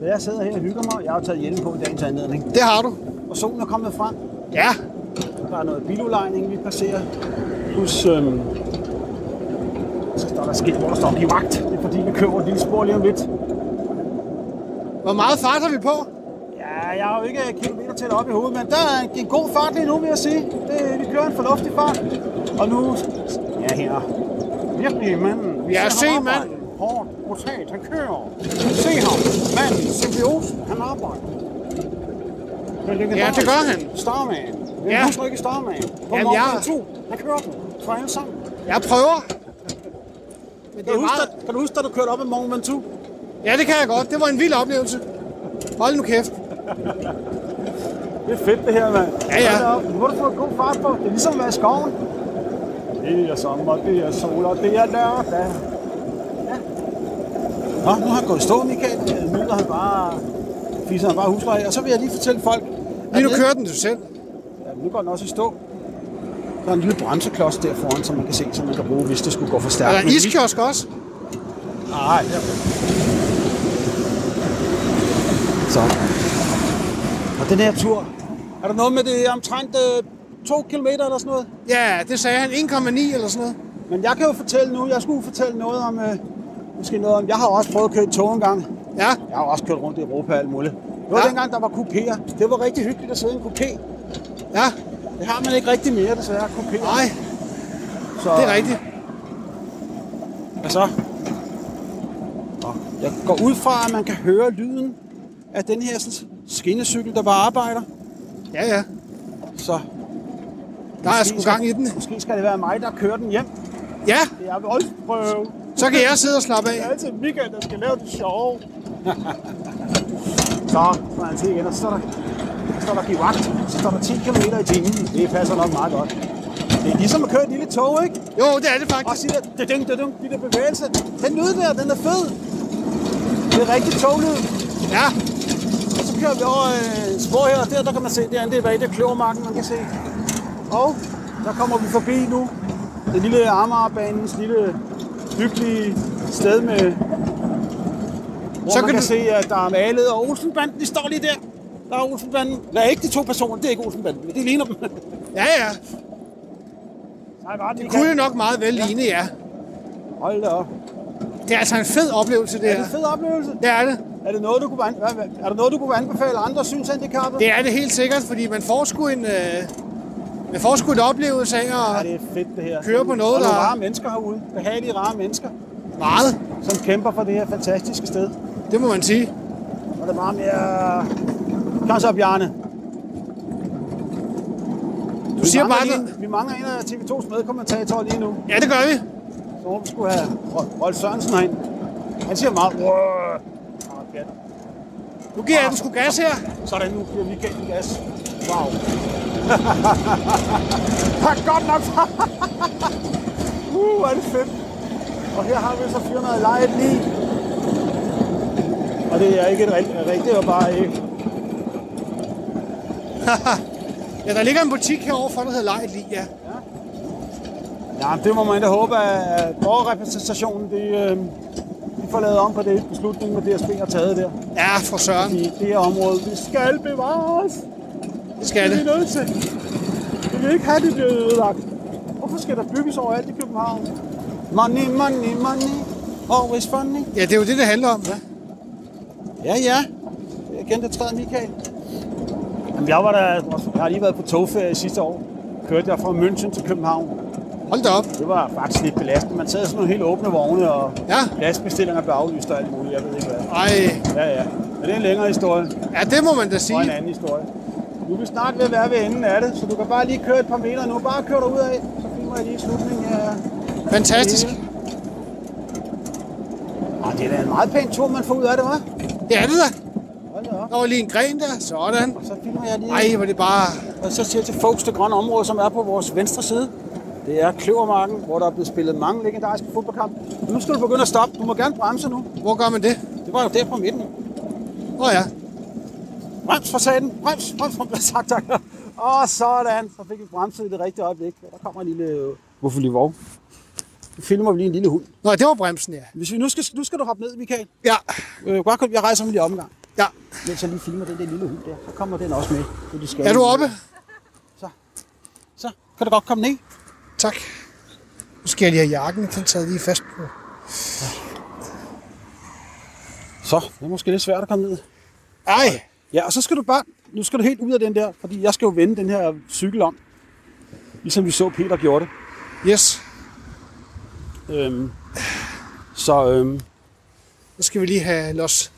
S3: Så jeg sidder her og hygger mig, og jeg har jo taget hjelm på i dagens anledning.
S4: Det har du.
S3: Og solen er kommet frem.
S4: Ja.
S3: Der er noget biludlejning, vi passerer. Plus, øhm, så står der skilt, hvor der står i vagt. Det er fordi, vi kører over et lille spor lige om lidt.
S4: Hvor meget fart har vi på?
S3: Ja, jeg har jo ikke kilometer til op i hovedet, men der er en- en god fart lige nu, vil jeg sige. Det, vi kører en fornuftig fart. Og nu, ja her. Virkelig manden. Vi
S4: Ja, se
S3: ham
S4: manden.
S3: arbejde. Hårdt, brutalt, han kører. Se ham. Manden, symbiosen, han arbejder. Det er
S4: Ja, det gør han.
S3: Starman. Jeg
S4: Ja.
S3: ja. husker ikke Starman. På
S4: Jamen,
S3: Jamen, jeg...
S4: jeg-
S3: 2. Han kører den. Fra alle sammen.
S4: Jeg prøver. Men det
S3: Kan
S4: er
S3: du, huske,
S4: meget...
S3: da, kan du huske, da du kørte op ad Mont Ventoux?
S4: Ja, det kan jeg godt. Det var en vild oplevelse. Hold nu kæft.
S3: Det er fedt det her, mand.
S4: Ja, ja.
S3: Hold da op. Nu har du fået god fart på. Det er ligesom at være i skoven. Det er sommer, det er sol, og det er lørdag. Ja. Nå, nu har han gået i stå, Michael. Nu er han bare... Fiser han bare husleje. Og så vil jeg lige fortælle folk...
S4: Lige nu
S3: at-
S4: kører den du selv.
S3: Ja, nu går den også i stå. Der er en lille bremseklods der foran, som man kan se, som man kan bruge, hvis det skulle gå for
S4: Er
S3: stærkt.
S4: der
S3: Men vi-
S4: iskiosk også?
S3: Nej, der. Så. Og den her tur, er der noget med det er omtrent 2 km eller sådan noget?
S4: Ja, det sagde han. 1,9 eller sådan noget.
S3: Men jeg kan jo fortælle nu, jeg skulle fortælle noget om, øh, måske noget om, jeg har også prøvet at køre i tog en gang.
S4: Ja,
S3: Jeg har også kørt rundt i Europa og alt muligt. Det var
S4: Ja.
S3: ja. dengang, der var kupéer. Det var rigtig hyggeligt at sidde i en kupé.
S4: ja.
S3: Det har man ikke rigtig mere, desværre, kupéer.
S4: Nej,
S3: så,
S4: det er rigtigt.
S3: Hvad så? Nå, Jeg går ud fra, at man kan høre lyden af den her sådan, skinnecykel, der bare arbejder.
S4: Ja, ja.
S3: Så
S4: Der er sgu gang i den.
S3: Måske skal det være mig, der kører den hjem.
S4: Ja,
S3: Det er voldprøve.
S4: så kan jeg sidde og slappe af.
S3: Det er altid Michael, der skal lave det sjove. så får han til igen, og så står der, så står der give vagt. Så står der 10 km i timen. Det passer nok meget godt. Det er ligesom at køre et lille tog, ikke?
S4: Jo, det er det
S3: Og
S4: faktisk.
S3: sige der, dudung, dudung, de der bevægelser. Den lyd der, den er fed. Det er rigtig toglyd.
S4: Ja,
S3: Og så kører vi over øh, spor her, og der, der kan man se, det er det er bag, det er Kløvermarken, man kan se. Og der kommer vi forbi nu. Den lille Amagerbanens lille hyggelige sted med... Hvor
S4: Så
S3: så man
S4: kan
S3: kan,
S4: du-
S3: kan se, at der er malet, og Olsenbanden, de står lige der. Der er Olsenbanden. Nej, ikke de to personer, det er ikke Olsenbanden, men det ligner dem.
S4: ja, ja.
S3: Nej, bare det
S4: Kunne jo nok meget vel ligne, ja.
S3: Hold da op.
S4: Det er altså en fed oplevelse, det
S3: Er
S4: her.
S3: det en fed oplevelse?
S4: Det er det.
S3: Er det noget, du kunne, an... hvad- hvad- er det noget, du kunne anbefale andre synshandicappede?
S4: Det er det helt sikkert, fordi man får sgu en, øh, man får sgu en oplevelse af at
S3: Ja, det er fedt det her.
S4: Kører på noget,
S3: og
S4: der-
S3: nogle rare mennesker herude. Behagelige, rare mennesker,
S4: meget,
S3: som kæmper for det her fantastiske sted.
S4: det må man sige.
S3: Og der er meget mere... Kom så, Bjarne.
S4: Du siger bare,
S3: mangler,
S4: det.
S3: lige, vi mangler en af TV2's medkommentatorer lige nu.
S4: Ja, det gør vi.
S3: Så håber vi skulle have Rol- Rolf Sørensen herind. Han siger meget... "Wow." Nå, pjat.
S4: Nu giver jeg den sgu gas her.
S3: Sådan, nu bliver vi galt gas. Wow. Har godt nok fart. uh, hvor er det fedt. Og her har vi så firmaet lejet lige. Og det er ikke et rigtigt, rigtigt det er bare ikke.
S4: Ja, der ligger en butik herovre for, der hedder Lejet Lige, ja.
S3: Ja, det må man da håbe, at borgerrepræsentationen de, øh, de får lavet om på det beslutning, med DSB har taget der.
S4: Ja, for søren.
S3: I det her område, vi skal bevares.
S4: Det skal
S3: Det
S4: det.
S3: er vi nødt til. Vi vil ikke have, det bliver ødelagt. Hvorfor skal der bygges overalt i København? Money, money, money. Always funny.
S4: Ja, det er jo det, det handler om. Ja.
S3: Ja, ja. Det er igen, det træder Michael. Jamen, jeg, var der, jeg har lige været på togferie sidste år. Kørte jeg fra München til København.
S4: Hold da op.
S3: Det var faktisk lidt belastende. Man sad i sådan nogle helt åbne vogne, og
S4: Ja.
S3: lastbestillinger blev aflyst og alt muligt. Jeg ved ikke hvad.
S4: Ej,
S3: Ja, ja. Men det er en længere historie.
S4: ja, det må man da
S3: og
S4: sige.
S3: en anden historie. Nu er vi snart ved at være ved enden af det, så du kan bare lige køre et par meter nu. Bare kør dig ud af, så filmer jeg lige slutningen af
S4: Fantastisk.
S3: Ah, Og det er da en meget pæn tur, man får ud af det, hva'?
S4: Det er det da.
S3: Hold da
S4: Der var lige en gren der, sådan.
S3: Så filmer jeg lige.
S4: Ej, hvor det bare...
S3: Og så siger jeg til folks det grønne område, som er på vores venstre side. Det er Kløvermarken, hvor der er blevet spillet mange legendariske fodboldkampe. Nu skal du begynde at stoppe. Du må gerne bremse nu.
S4: Hvor gør man det?
S3: Det var jo der på midten.
S4: Åh oh, ja,
S3: Brems for satan. Brems, brems, brems. Tak, tak. Og sådan. Så fik vi bremset i det rigtige øjeblik. Og Der kommer en lille... øh, Hvorfor lige vov? Nu filmer vi lige en lille hund.
S4: Nå, det var bremsen, ja.
S3: Hvis vi, nu, skal, nu skal du hoppe ned, Michael.
S4: Ja,
S3: Øh, godt, jeg rejser mig lige omgang.
S4: ja.
S3: Mens jeg lige filmer den der lille hund der, så kommer den også med. Det de skal.
S4: Er du oppe?
S3: Så kan du godt komme ned.
S4: Tak. Nu skal jeg lige have jakken, den sad lige fast på.
S3: Så, det er måske lidt svært at komme ned.
S4: Ej,
S3: Ja, og så skal du bare... Nu skal du helt ud af den der, fordi jeg skal jo vende den her cykel om. Ligesom vi så Peter gjorde det.
S4: yes.
S3: Øhm, så øhm,
S4: Nu skal vi lige have los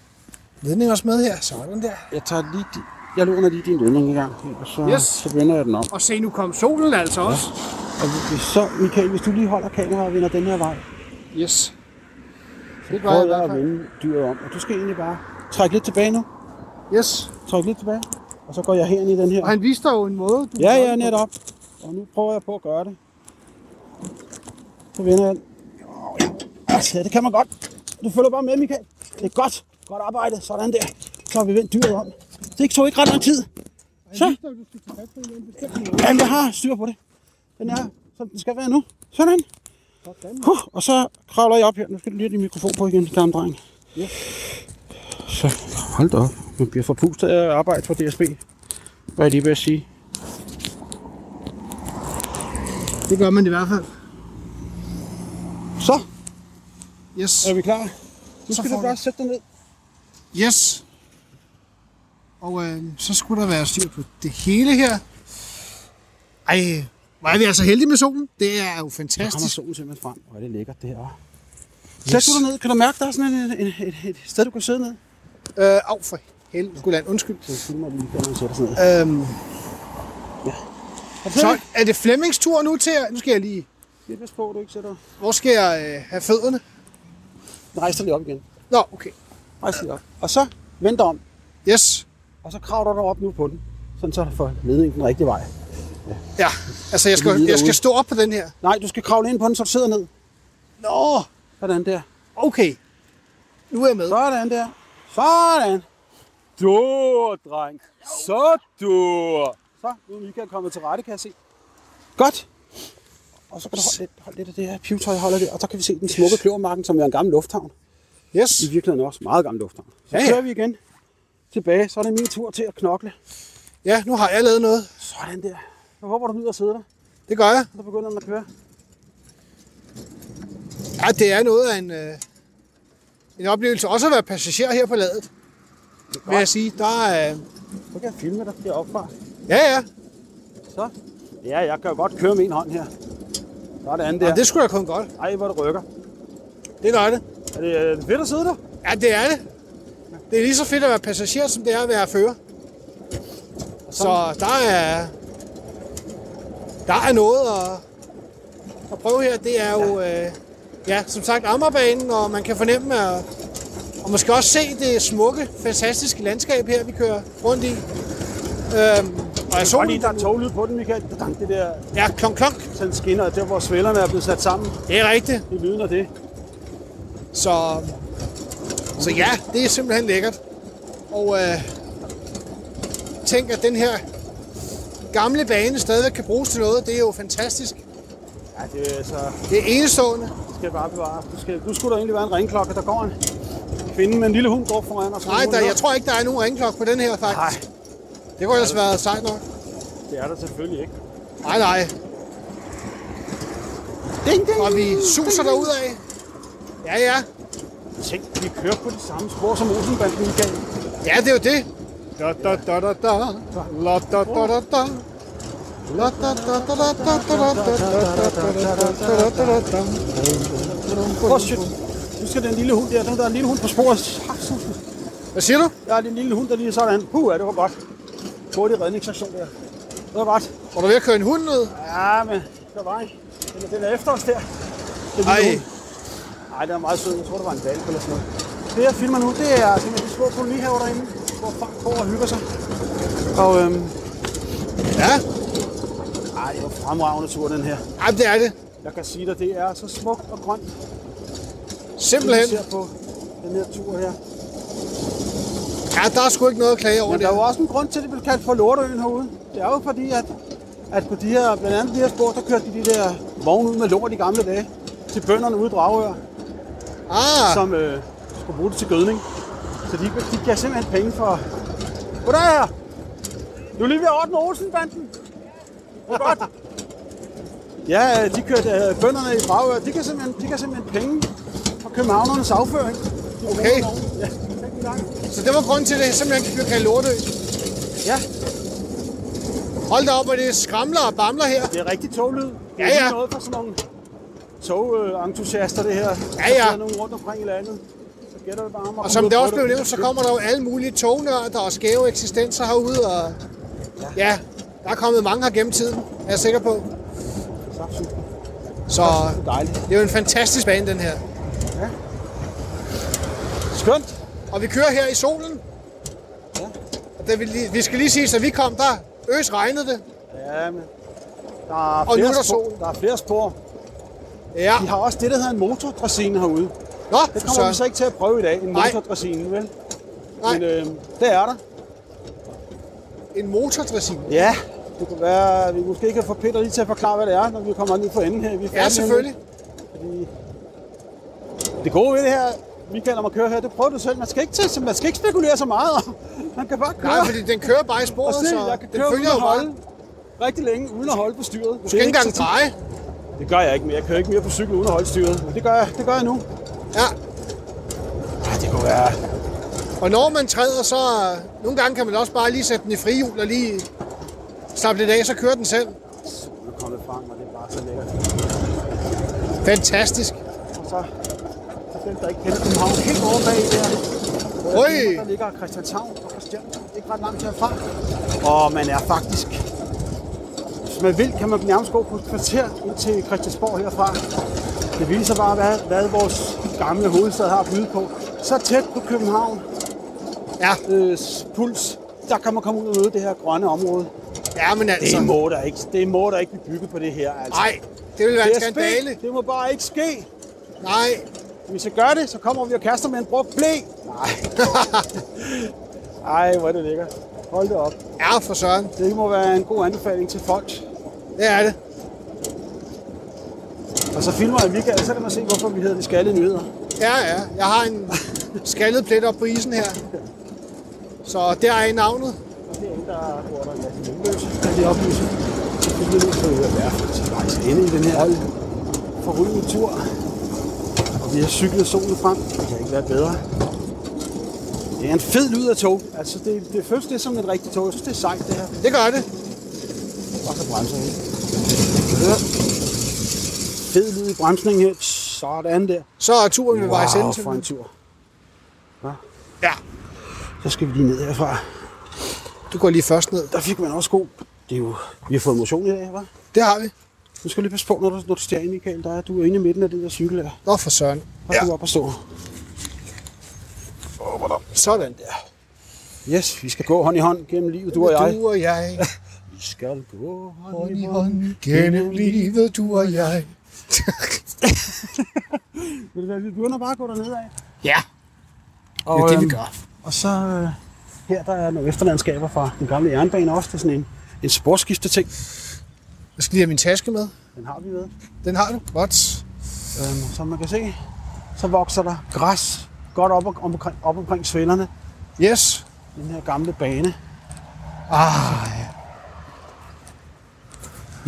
S4: ledning også med her. Sådan der.
S3: jeg tager lige... di- Jeg låner lige din ledning i gang, og så,
S4: Yes.
S3: så vender jeg den om.
S4: Og se, nu kom solen altså også.
S3: Og hvis, så, Michael, hvis du lige holder kameraet og vender den her vej,
S4: Yes. Det gør jeg i
S3: prøver jeg at
S4: hvert fald.
S3: vende dyret om. Og du skal egentlig bare trække lidt tilbage nu.
S4: Yes.
S3: Træk lidt tilbage. Og så går jeg herind i den her.
S4: Og han viste dig jo en måde. Du
S3: Ja, ja, netop. Og nu prøver jeg på at gøre det. Så vender jeg den. Åh, ja. Altså, det kan man godt. Du følger bare med, Michael. Det er godt. Godt arbejde. Sådan der. Så har vi vendt dyret om. Det tog ikke ret lang tid. Så. Jamen, jeg har styr på det. Den er, som den skal være nu. Sådan. Huh, og så kravler jeg op her. Nu skal du lige have din mikrofon på igen, gamle dreng. Så, hold da op. Man bliver forpustet af at arbejde for DSB. Hvad er det ved at sige?
S4: Det gør man i hvert fald.
S3: Så,
S4: Yes.
S3: er vi klar? Nu
S4: Så
S3: skal
S4: får
S3: du
S4: vi-
S3: bare sætte dig ned.
S4: Yes. Og øh, så skulle der være styr på det hele her. Ej, hvor er vi altså heldige med solen. Det er jo
S3: Der kommer
S4: fantastisk.
S3: solen simpelthen frem. Hvor er det lækkert, det her. var. Sæt du dig ned. Kan du mærke, der er sådan en, en, et, et, sted, du kan sidde ned?
S4: Øh, af for helvede. Skulle land, undskyld.
S3: Så filmer vi lige, før man sætter sig ned.
S4: Øhm,
S3: Er du
S4: så
S3: klar?
S4: er det Flemmings tur nu til at- Nu skal jeg lige...
S3: Lidt pas på, du ikke sætter.
S4: Hvor skal jeg øh, have fødderne?
S3: Rejs dig lige op igen.
S4: Nå, okay.
S3: Rejs dig op. Og så vend dig om.
S4: Yes.
S3: Og så kravler du op nu på den. Sådan så du får ledningen den rigtige vej.
S4: Ja, altså jeg skal, jeg skal stå op på den her.
S3: Nej, du skal kravle ind på den, så du sidder ned.
S4: Nå,
S3: Sådan der.
S4: okay. Nu er jeg med.
S3: Sådan der. Sådan. Du, dreng. Så du. Så, nu er Michael kommet til rette, kan jeg se. Godt. Og så kan du holde lidt, holde lidt af det her pivetøj, jeg holder det, og så kan vi se den smukke kløvermarken, som er en gammel lufthavn.
S4: Yes.
S3: I virkeligheden også meget gammel lufthavn. Så
S4: Ja, ja.
S3: kører vi igen tilbage, så er det min tur til at knokle.
S4: Ja, nu har jeg lavet noget.
S3: Sådan der. Jeg håber, du nyder at sidde der,
S4: Det gør jeg.
S3: og så begynder den at køre.
S4: Ja, det er noget af en, øh, en oplevelse også at være passager her på ladet. Vil jeg sige, der er... Øh,
S3: Så kan jeg filme dig deroppe fra.
S4: ja, ja,
S3: Så. Ja, jeg kan jo godt køre med en hånd her. Sådan
S4: ja.
S3: der.
S4: det skulle da kun godt.
S3: Ej, hvor det rykker.
S4: Det gør det.
S3: Er det øh, fedt at sidde der?
S4: Ja, det er det. Det er lige så fedt at være passager, som det er at være fører. Så der er... Der er noget at, at prøve her. Det er jo, øh, ja, som sagt, Amagerbanen, og man kan fornemme, at, og man skal også se det smukke, fantastiske landskab her, vi kører rundt i. Øhm, og jeg så
S3: Godt lige, der er toglyd på den, Michael. Dang, Det der
S4: Ja, klonk, klonk.
S3: sådan skinner, der hvor svællerne er blevet sat sammen.
S4: Det er rigtigt.
S3: Det lyder af det.
S4: Så, så ja, det er simpelthen lækkert. Og øh, tænk, at den her gamle bane stadigvæk kan bruges til noget. Det er jo fantastisk.
S3: Ja, det er altså,
S4: Det er enestående.
S3: skal jeg bare bevare. Du, skal, du skulle da egentlig være en ringklokke. Der går en kvinde med en lille hund går foran os.
S4: Nej, der, jeg tror ikke, der er nogen ringklokke på den her, faktisk.
S3: Nej,
S4: Det kunne ellers være sejt nok.
S3: det er der selvfølgelig ikke.
S4: Nej, nej.
S3: Ding, ding.
S4: Og vi suser derud af. Ja, ja.
S3: Tænk, vi kører på det samme spor som Olsenbanden i dag.
S4: Ja, det er jo det. Da, da, da, da, da. La, da, da, da, da. La, da, da, da, da, da, da, da, da, da, da, da.
S3: Åh, shit. Nu skal den lille hund der. Den der er en lille hund på sporet.
S4: Hvad siger du?
S3: Der er en lille hund, der lige sådan. Puh, ja, det var godt. Hurtig redningsaktion der. Det var godt.
S4: Var du ved at køre en hund ned?
S3: Ja, men der var en. Den er, den er efter os der. Den
S4: Ej.
S3: Nej, den er meget sød. Jeg tror, det var en valp eller sådan noget. Det, jeg filmer nu, det er simpelthen de små kolonihaver derinde. hvor folk går og hygger sig. Og øhm,
S4: Ja,
S3: ej, det var fremragende tur, den her.
S4: ej, det er det.
S3: Jeg kan sige dig, det er så smukt og grønt, det vi
S4: Simpelthen.
S3: ser på den her tur her.
S4: Ja, der er sgu ikke noget at klage over
S3: Men der er jo
S4: det.
S3: også en grund til, at det blev kaldt for Lorteøen herude. Det er jo fordi, at, at på de her, blandt andet de her spor, der kørte de de der vogne ud med lort i gamle dage til bønderne ude i Dragør,
S4: Ah,
S3: som øh, skulle bruge det til gødning. Så de, de gav simpelthen penge for... Goddag her! Du er lige ved at ordne Olsen-banden. Det er godt. Ja, øh, de kørte øh, bønderne i Dragør. De kan simpelthen, de kan simpelthen penge fra københavnernes afføring. De
S4: Okay.
S3: Ja, tak i gang.
S4: så det var grunden til, at det simpelthen blev kaldt lortø.
S3: Ja,
S4: Hold da op, hvor det skramler og bamler her.
S3: Det er rigtig toglyd. Det er
S4: Ja, ja.
S3: ikke noget for sådan nogle togentusiaster, det her.
S4: Ja, ja.
S3: Der er nogen rundt omkring i landet. Så gætter det bare om at
S4: Og
S3: komme
S4: som
S3: ud
S4: det også
S3: på
S4: blev nævnt, så kommer der jo alle mulige tognørder og skæve eksistenser herude. Og ja, der er kommet mange her gennem tiden, er jeg sikker på.
S3: Saftsus.
S4: Så
S3: Det er dejligt.
S4: det er jo en fantastisk bane, den her.
S3: Skønt.
S4: Og vi kører her i solen.
S3: Ja.
S4: Og da vi, lige- vi skal lige sige, at vi kom der, øs regnede det.
S3: Ja, men der er,
S4: Og nu
S3: flere
S4: er der
S3: spor.
S4: sol.
S3: der er flere spor.
S4: Ja,
S3: De har også det, der hedder en motordressine herude.
S4: nå,
S3: Det kommer så. vi så
S4: så,
S3: ikke til at prøve i dag, en
S4: Nej.
S3: motordressine, vel?
S4: nej,
S3: Men øh, det er der.
S4: en motordressin.
S3: Ja, det kunne være, at vi måske kan få Peter lige til at forklare, hvad det er, når vi kommer ned for enden her. Vi er færdige
S4: Ja,
S3: om lidt.
S4: selvfølgelig.
S3: Fordi det gode ved det her, Michael, når man kører her, det prøver du selv. Man skal ikke, til, man skal ikke spekulere så meget. Man kan bare køre.
S4: Nej, fordi den kører bare i
S3: og
S4: sporet,
S3: se,
S4: så
S3: jeg kan
S4: den
S3: køre uden
S4: følger
S3: at
S4: jo bare.
S3: holde rigtig længe, uden at holde på styret.
S4: Du skal ikke engang dreje.
S3: Det gør jeg ikke mere. Jeg kører ikke mere på cykel uden at holde styret. Men det gør jeg, det gør jeg nu.
S4: Ja,
S3: Ja, det kunne være.
S4: og når man træder, så øh, nogle gange kan man også bare lige sætte den i frihjul og lige slappe lidt af, så kører den selv.
S3: Nu kom det frem, og det er bare så lækkert.
S4: Fantastisk.
S3: Og så til dem, der ikke kender København, helt over bag der.
S4: Oj.
S3: Der ligger Christianshavn og Christian, ikke ret langt herfra. Og man er faktisk... Hvis man vil, kan man nærmest gå på et kvarter ind til Christiansborg herfra. Det viser bare, hvad, hvad vores gamle hovedstad har at byde på. Så tæt på København,
S4: Ja,
S3: øh, puls, der kan man komme ud og møde det her grønne område.
S4: ja men altså.
S3: Det må der ikke, det må der ikke blive bygget på det her. Altså.
S4: Nej, det ville være en
S3: DSB,
S4: skandale.
S3: det må bare ikke ske.
S4: Nej,
S3: Hvis jeg gør det, så kommer vi og kaster med en brugt blæ. Nej. Ej, hvor er det lækkert. Hold det op.
S4: ja for søren.
S3: Det må være en god anbefaling til folk.
S4: Det er det.
S3: Og så filmer jeg Michael, så kan man se, hvorfor vi hedder de skaldede nyheder.
S4: Ja, ja. Jeg har en skaldet plet op på isen her. Så der er i navnet.
S3: Og det er en, der bor der en masse hjemløse, kan de oplyse. Så fik vi nu på ud af værftet til vejs ende i den her hold. forrygende tur. Og vi har cyklet solen frem. Det kan ikke være bedre. Det er en fed lyd af tog. Altså, det, det føles lidt som et rigtigt tog. Jeg synes, det er sejt, det her.
S4: Det gør det.
S3: Og så bremser jeg. Ja. Fed lyd i bremsningen her. Sådan der.
S4: Så er turen ved wow, vejs ende.
S3: for en
S4: simpelthen.
S3: tur.
S4: Ja,
S3: Så skal vi lige ned herfra.
S4: du går lige først ned.
S3: Der fik man også god. Det er jo, vi har fået motion i dag, hva'?
S4: Det har vi.
S3: Nu skal du lige passe på, når du, når du stiger ind, Michael. Der er, du er inde i midten af den der cykel der.
S4: Nå for søren.
S3: Der skal ja. du op og stå.
S4: Sådan der.
S3: Yes, vi skal gå hånd i hånd gennem livet, du og jeg.
S4: Du og jeg.
S3: Vi skal gå hånd
S4: Hånd i hånd. Gennem livet, du og jeg.
S3: Ved du hvad, Vi begynder bare at gå dernede af.
S4: Ja,
S3: Og,
S4: det er det, vi
S3: øhm,
S4: gør.
S3: Og så øh, her, der er nogle efterlandskaber fra den gamle jernbane også. Det er sådan en, en sporskifteting.
S4: Jeg skal lige have min taske med.
S3: Den har vi med.
S4: Den har du. Godt.
S3: Øhm, som man kan se, så vokser der græs godt op, og, omkring, op omkring svellerne.
S4: Yes.
S3: Den her gamle bane.
S4: Ah, ja.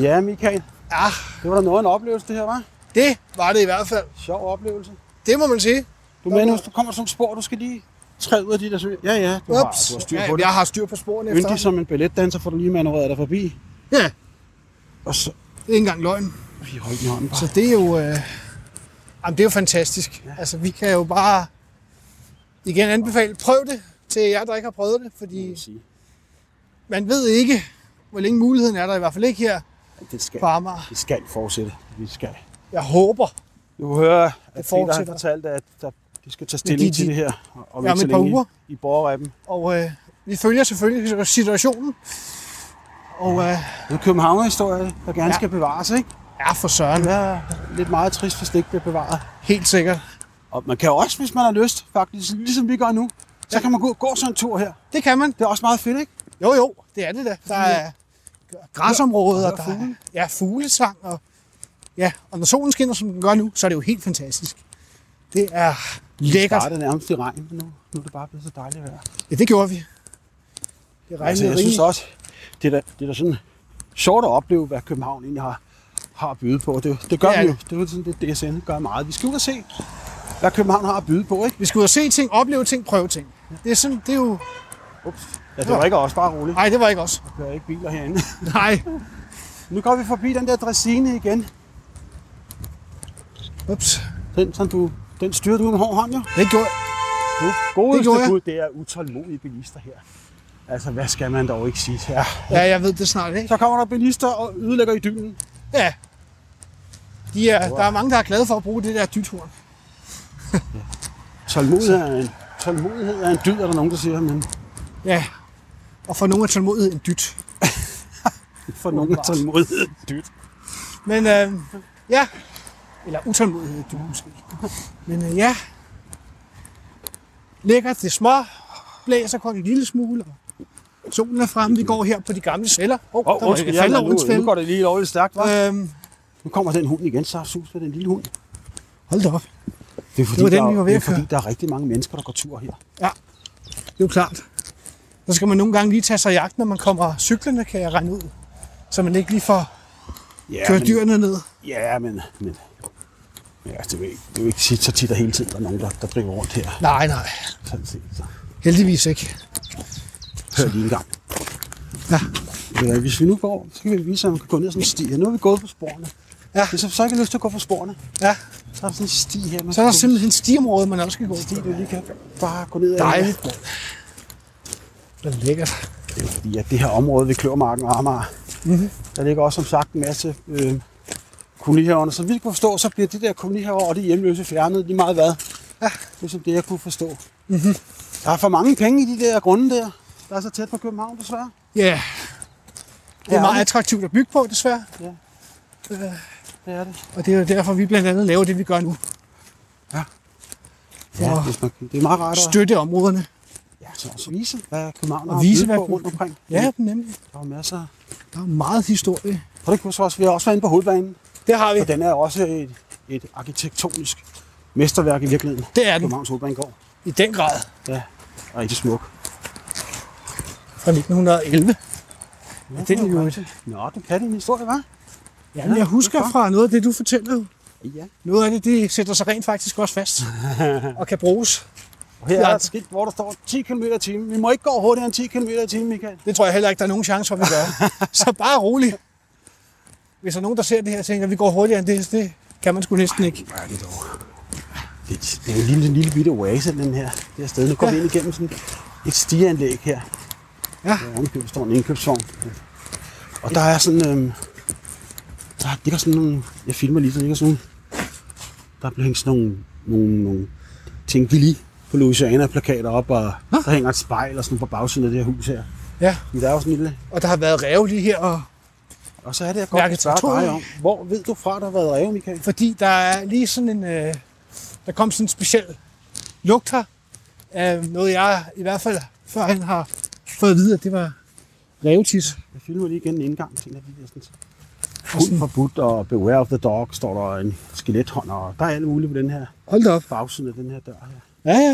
S3: Ja, Michael,
S4: Ah,
S3: det var da noget af en oplevelse, det her, var.
S4: det var det i hvert fald.
S3: Sjov oplevelse.
S4: Det må man sige.
S3: Du mener, hvis du kommer sådan et spor, du skal lige træde ud af de der søer. Ja, ja, du har,
S4: Ups.
S3: du har styr
S4: Ja,
S3: på det.
S4: Jeg har styr på sporene efter.
S3: Yndig som en balletdanser, får du lige manøvreret dig forbi.
S4: Ja,
S3: Og så
S4: det er ikke engang løgn.
S3: vi holdt i hånden.
S4: Så
S3: Så
S4: det er jo, øh, jamen, det er jo fantastisk. Ja. Altså, vi kan jo bare igen anbefale, prøv det til jer, der ikke har prøvet det, fordi
S3: sige.
S4: man ved ikke, hvor længe muligheden er der, i hvert fald ikke her
S3: det skal,
S4: på Amager.
S3: det skal fortsætte. Vi skal.
S4: Jeg håber,
S3: Du hører, at
S4: Det
S3: Peter han
S4: fortsætter.
S3: fortalte, at der, De skal tage stilling
S4: de-
S3: til
S4: de-
S3: det her og- og
S4: Ja, om
S3: ikke så
S4: et par
S3: længe
S4: uger.
S3: i, i borgerrappen.
S4: Og øh, vi følger selvfølgelig situationen. Og øh,
S3: Det er København-historie, der gerne
S4: Ja.
S3: ja. skal bevares, ikke?
S4: ja, for søren.
S3: Det er lidt meget trist, hvis det ikke bliver bevaret.
S4: Helt sikkert.
S3: Og man kan jo også, hvis man har lyst, faktisk, ligesom vi gør nu, så kan man gå, gå sådan en tur her.
S4: Det kan man.
S3: Det er også meget fedt, ikke?
S4: Jo, jo, det er det da. Der er græsområder, og der er ja, fuglesang, og, ja, og når solen skinner, som den gør nu, så er det jo helt fantastisk. Det er
S3: Det
S4: lækkert.
S3: startede nærmest i regn, men nu, nu er det bare blevet så dejligt vejr.
S4: Ja, det gjorde vi. Det regnede
S3: Altså, jeg synes
S4: rigeligt.
S3: også, det er da, det er da sådan sjovt at opleve, hvad København egentlig har, har at byde på. Det, det gør
S4: Ja.
S3: ja. vi jo. Det er jo sådan, det DSN gør meget. Vi skal ud og se, hvad København har at byde på, ikke?
S4: Vi skal ud og se ting, opleve ting, prøve ting. Det er, sådan, det er jo...
S3: Ja, det var ikke også bare roligt.
S4: Nej, det var ikke os.
S3: Der er ikke biler herinde.
S4: Nej.
S3: Nu går vi forbi den der dressine igen.
S4: Ups.
S3: Den, som du, den styrer du med hård hånd, jo.
S4: Det gjorde
S3: Du, godeste
S4: Det gjorde jeg.
S3: Gud, det er utålmodige bilister her. Altså, hvad skal man dog ikke sige? Ja.
S4: Ja, jeg ved det snart, ikke?
S3: Så kommer der bilister og ødelægger i dynen.
S4: Ja. De er, der er mange, der er glade for at bruge det der dythorn.
S3: Tålmodighed er en, tålmodighed er en dyd, er der nogen, der siger, men
S4: Ja. Og for nogle er tålmodighed en dyt.
S3: for nogen er tålmodighed en dyd.
S4: Men øh, ja, eller utålmodighed, du måske. Men øh, ja, lækkert, det er små, blæser kun en lille smule, og solen er fremme, vi går her på de gamle celler. Åh, oh,
S3: Åh,
S4: der var
S3: undskyld,
S4: ikke
S3: jeg
S4: faldet over en
S3: nu, nu
S4: fælde.
S3: går det lige lovligt stærkt, hva'?
S4: Øhm,
S3: Nu kommer den hund igen, så sus ved den lille hund.
S4: hold da op,
S3: Det er fordi,
S4: Det var den,
S3: der,
S4: vi var ved
S3: det er
S4: at køre.
S3: fordi der er rigtig mange mennesker, der går tur her.
S4: det er jo klart. Så skal man nogle gange lige tage sig i jagt, når man kommer cyklerne, kan jeg regne ud. Så man ikke lige får
S3: Ja,
S4: kørt
S3: men,
S4: dyrene ned.
S3: Ja, men, men ja, det, er jo ikke, det er jo ikke tit, så tit, der hele tiden der er nogen, der, der driver rundt her.
S4: Nej, nej,
S3: Sådan set, så
S4: heldigvis ikke.
S3: hører lige en gang.
S4: Ja,
S3: Men, øh, hvis vi nu går, så kan vi vise, at man kan gå ned ad sådan en sti. her. Nu er vi gået på sporene.
S4: Ja.
S3: Hvis jeg så ikke har lyst til at gå på sporene,
S4: ja.
S3: så er der sådan en sti her. Man
S4: Så er der
S3: kan gå-
S4: simpelthen stiområde, man også skal gå.
S3: en sti, du lige kan bare gå ned ad.
S4: Dejligt, mand. Det er lækkert.
S3: Det er jo fordi, at det her område ved Kløvermarken og Amager,
S4: Mhm.
S3: mm-hmm. der ligger også som sagt en masse øh, kolonihaverne. Så vidt jeg kunne forstå, så bliver det der kolonihaver og det hjemløse fjernet lige meget hvad. Ja. Det er som det, jeg kunne forstå. Mm-hmm.
S4: Mhm.
S3: Der er for mange penge i de der grunde der, der er så tæt på København desværre.
S4: Ja, yeah. det er
S3: Ja.
S4: meget attraktivt at bygge på, desværre.
S3: Det er det.
S4: Og det er jo derfor, vi blandt andet laver det, vi gør nu.
S3: Ja,
S4: Åh.
S3: hvis man, det er meget rart at
S4: Støtte områderne.
S3: ja, så også vise, hvad København
S4: Og
S3: har
S4: vise,
S3: vise, hvad
S4: hvad
S3: på rundt omkring.
S4: Ja, nemlig.
S3: Der er jo masser.
S4: Der er meget historie.
S3: Og det kunne så også, vi har også været inde på hovedbanen,
S4: Det har vi.
S3: og den er også et, et arkitektonisk mesterværk i virkeligheden.
S4: Det er den.
S3: Københavns Hovedbanegård.
S4: I den grad.
S3: Ja, og rigtig smuk.
S4: Fra 1911.
S3: Ja,
S4: det er jo et-
S3: Nå, du kan din historie, hva'?
S4: Ja, men jeg husker fra noget af det, du fortæller. jo.
S3: Ja.
S4: Noget af det, det sætter sig rent faktisk også fast. og kan bruges.
S3: Og her
S4: Ja.
S3: er et skilt, hvor der står 10 km i timen. Vi må ikke gå hurtigere end 10 km i timen, Michael.
S4: Det tror jeg heller ikke, der er nogen chance for, at vi gør. Så bare rolig. Hvis der er nogen, der ser det her og tænker, at vi går hurtigere end det, det kan man sgu næsten ikke.
S3: Hvad er det dog? Det, det er jo en lille, lille bitte oase, den her, det her sted. Nu går
S4: Ja.
S3: ja. vi ind igennem sådan et stigeanlæg her.
S4: Ja.
S3: Hvor ovenikøbet står en indkøbsvogn. Og der er sådan... Øhm, der ligger sådan nogle... Jeg filmer lige, så ligger sådan nogle... Der bliver hængt sådan nogle, nogle, nogle ting, vi lige på Louisiana-plakater op, og der hænger et spejl og sådan på bagsiden af det her hus her.
S4: Ja,
S3: Men der er jo sådan en lille
S4: og der har været ræve lige her, og
S3: Og så er det, jeg godt
S4: Mærke
S3: vil spørge
S4: territorium.
S3: dig om. Hvor ved du fra, der har været ræve, Michael?
S4: fordi der er lige sådan en, øh, der kom sådan en speciel lugt her, af noget jeg i hvert fald før han har fået at vide, at det var rævetis.
S3: Jeg filmer lige igen en indgang til en af de der sådan... Hund forbudt og beware of the dog, står der en skelethånd, og der er alt muligt på den her
S4: Hold da op.
S3: bagsiden af den her dør her.
S4: Ja, ja.
S3: Ja,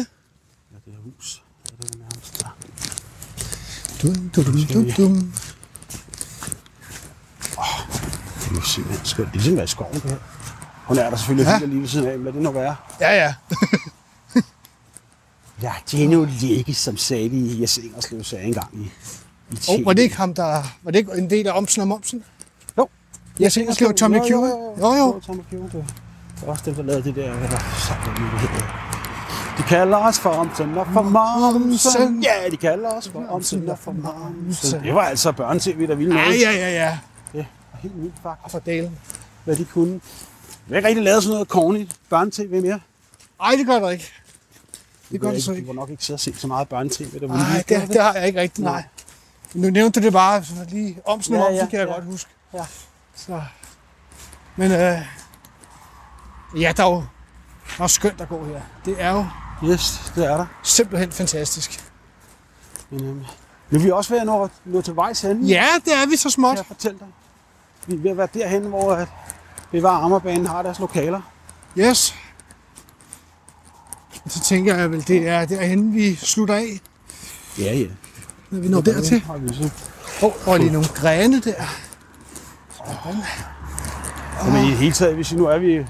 S3: det her hus. Ja, det er med ham. Der.
S4: Dum, dum, dum, dum, dum.
S3: Det er jo simpelthen skønt. Det er simpelthen ligesom i skoven, det her. Hun er der selvfølgelig
S4: Ja.
S3: ja. lige ved siden af, hvad det nu være.
S4: Ja, ja.
S3: Ja, det er nu ligge, som sagde vi i Jes Ingerslev sagde engang i, i
S4: Og oh, var det ikke ham, der... Var det ikke en del af Omsen og Momsen?
S3: Jo.
S4: Jeg tænker, skrev Tommy Q.
S3: Jo, jo. Tommy Q, det var også dem, der lavede det der, hvad der sammen med det hedder. De kalder os for Omsen og for Momsen. Ja, de kalder os for Omsen og for Momsen. Det var altså børne-tv, der ville
S4: Ja,
S3: noget.
S4: ja, ja, ja.
S3: Det var helt vildt faktisk,
S4: Og for dalen.
S3: hvad de kunne. Vi har ikke rigtig lavet sådan noget corny børne-tv mere.
S4: Ej, det gør der ikke. det gør det så
S3: Du
S4: ikke.
S3: var nok ikke sidde og se så meget børnetv. da du var
S4: Nej,
S3: lille.
S4: det, det har jeg ikke rigtigt, nej. Men nu nævnte du det bare så lige om sådan
S3: Ja,
S4: ja, om,
S3: ja,
S4: det kan jeg
S3: ja.
S4: godt huske.
S3: Ja.
S4: Så. Men øh, ja, der er jo der er skønt at gå her. Det er jo
S3: Yes, det er der.
S4: simpelthen fantastisk.
S3: Mm. Men, øhm, nu er vi også ved at nå, nå til vejs henne.
S4: Ja, det er vi så
S3: Kan
S4: småt.
S3: jeg fortælle dig. Vi er ved at være derhen, hvor at Bevar Ammerbanen har deres lokaler.
S4: Yes. Og Så tænker jeg vel, det er derhen, vi slutter af,
S3: Ja, ja.
S4: når vi når dertil. Åh, oh, lige nogle grene der.
S3: Men i det hele taget, hvis I nu er vi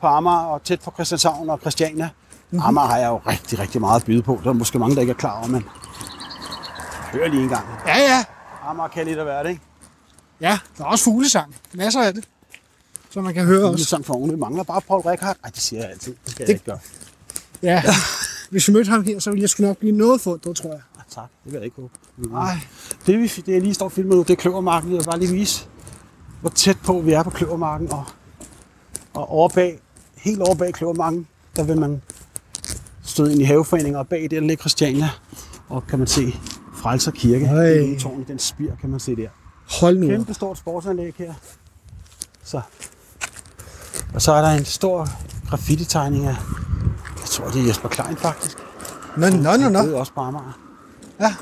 S3: på Amager og tæt på Christianshavn og Christiania. Amager har jeg jo rigtig, rigtig meget at byde på. Der er måske mange, der ikke er klar over, men hør lige en gang.
S4: Ja, ja.
S3: Amager kan lidt af hvert, ikke?
S4: Ja, der er også fuglesang. Masser af det. Så man kan høre
S3: Det er
S4: os.
S3: sådan for unge. Vi mangler bare Paul Rekhardt. Nej, det siger jeg altid. Det skal jeg
S4: Det-
S3: ikke gøre.
S4: Ja. Hvis vi mødte ham her, så ville jeg sgu nok blive noget fundet, tror jeg.
S3: Ah, tak, det vil jeg ikke håbe.
S4: Nej.
S3: Det, vi, det jeg lige står og filmer nu, det er Kløvermarken. Jeg vil bare lige vise, hvor tæt på vi er på Kløvermarken. Og, og over bag, helt over bag Kløvermarken, der vil man støde ind i haveforeninger. Og bag det, der ligger Christiania. Og kan man se Frelser Kirke.
S4: Øj.
S3: Den tårn, den spir, kan man se der.
S4: Hold nu. op.
S3: Kæmpe stort sportsanlæg her. Så. Og så er der en stor graffiti-tegning af, jeg tror, det er Jesper Klein faktisk.
S4: Nå, nå, nå, nå.
S3: Det er også på Amager.
S4: Ja.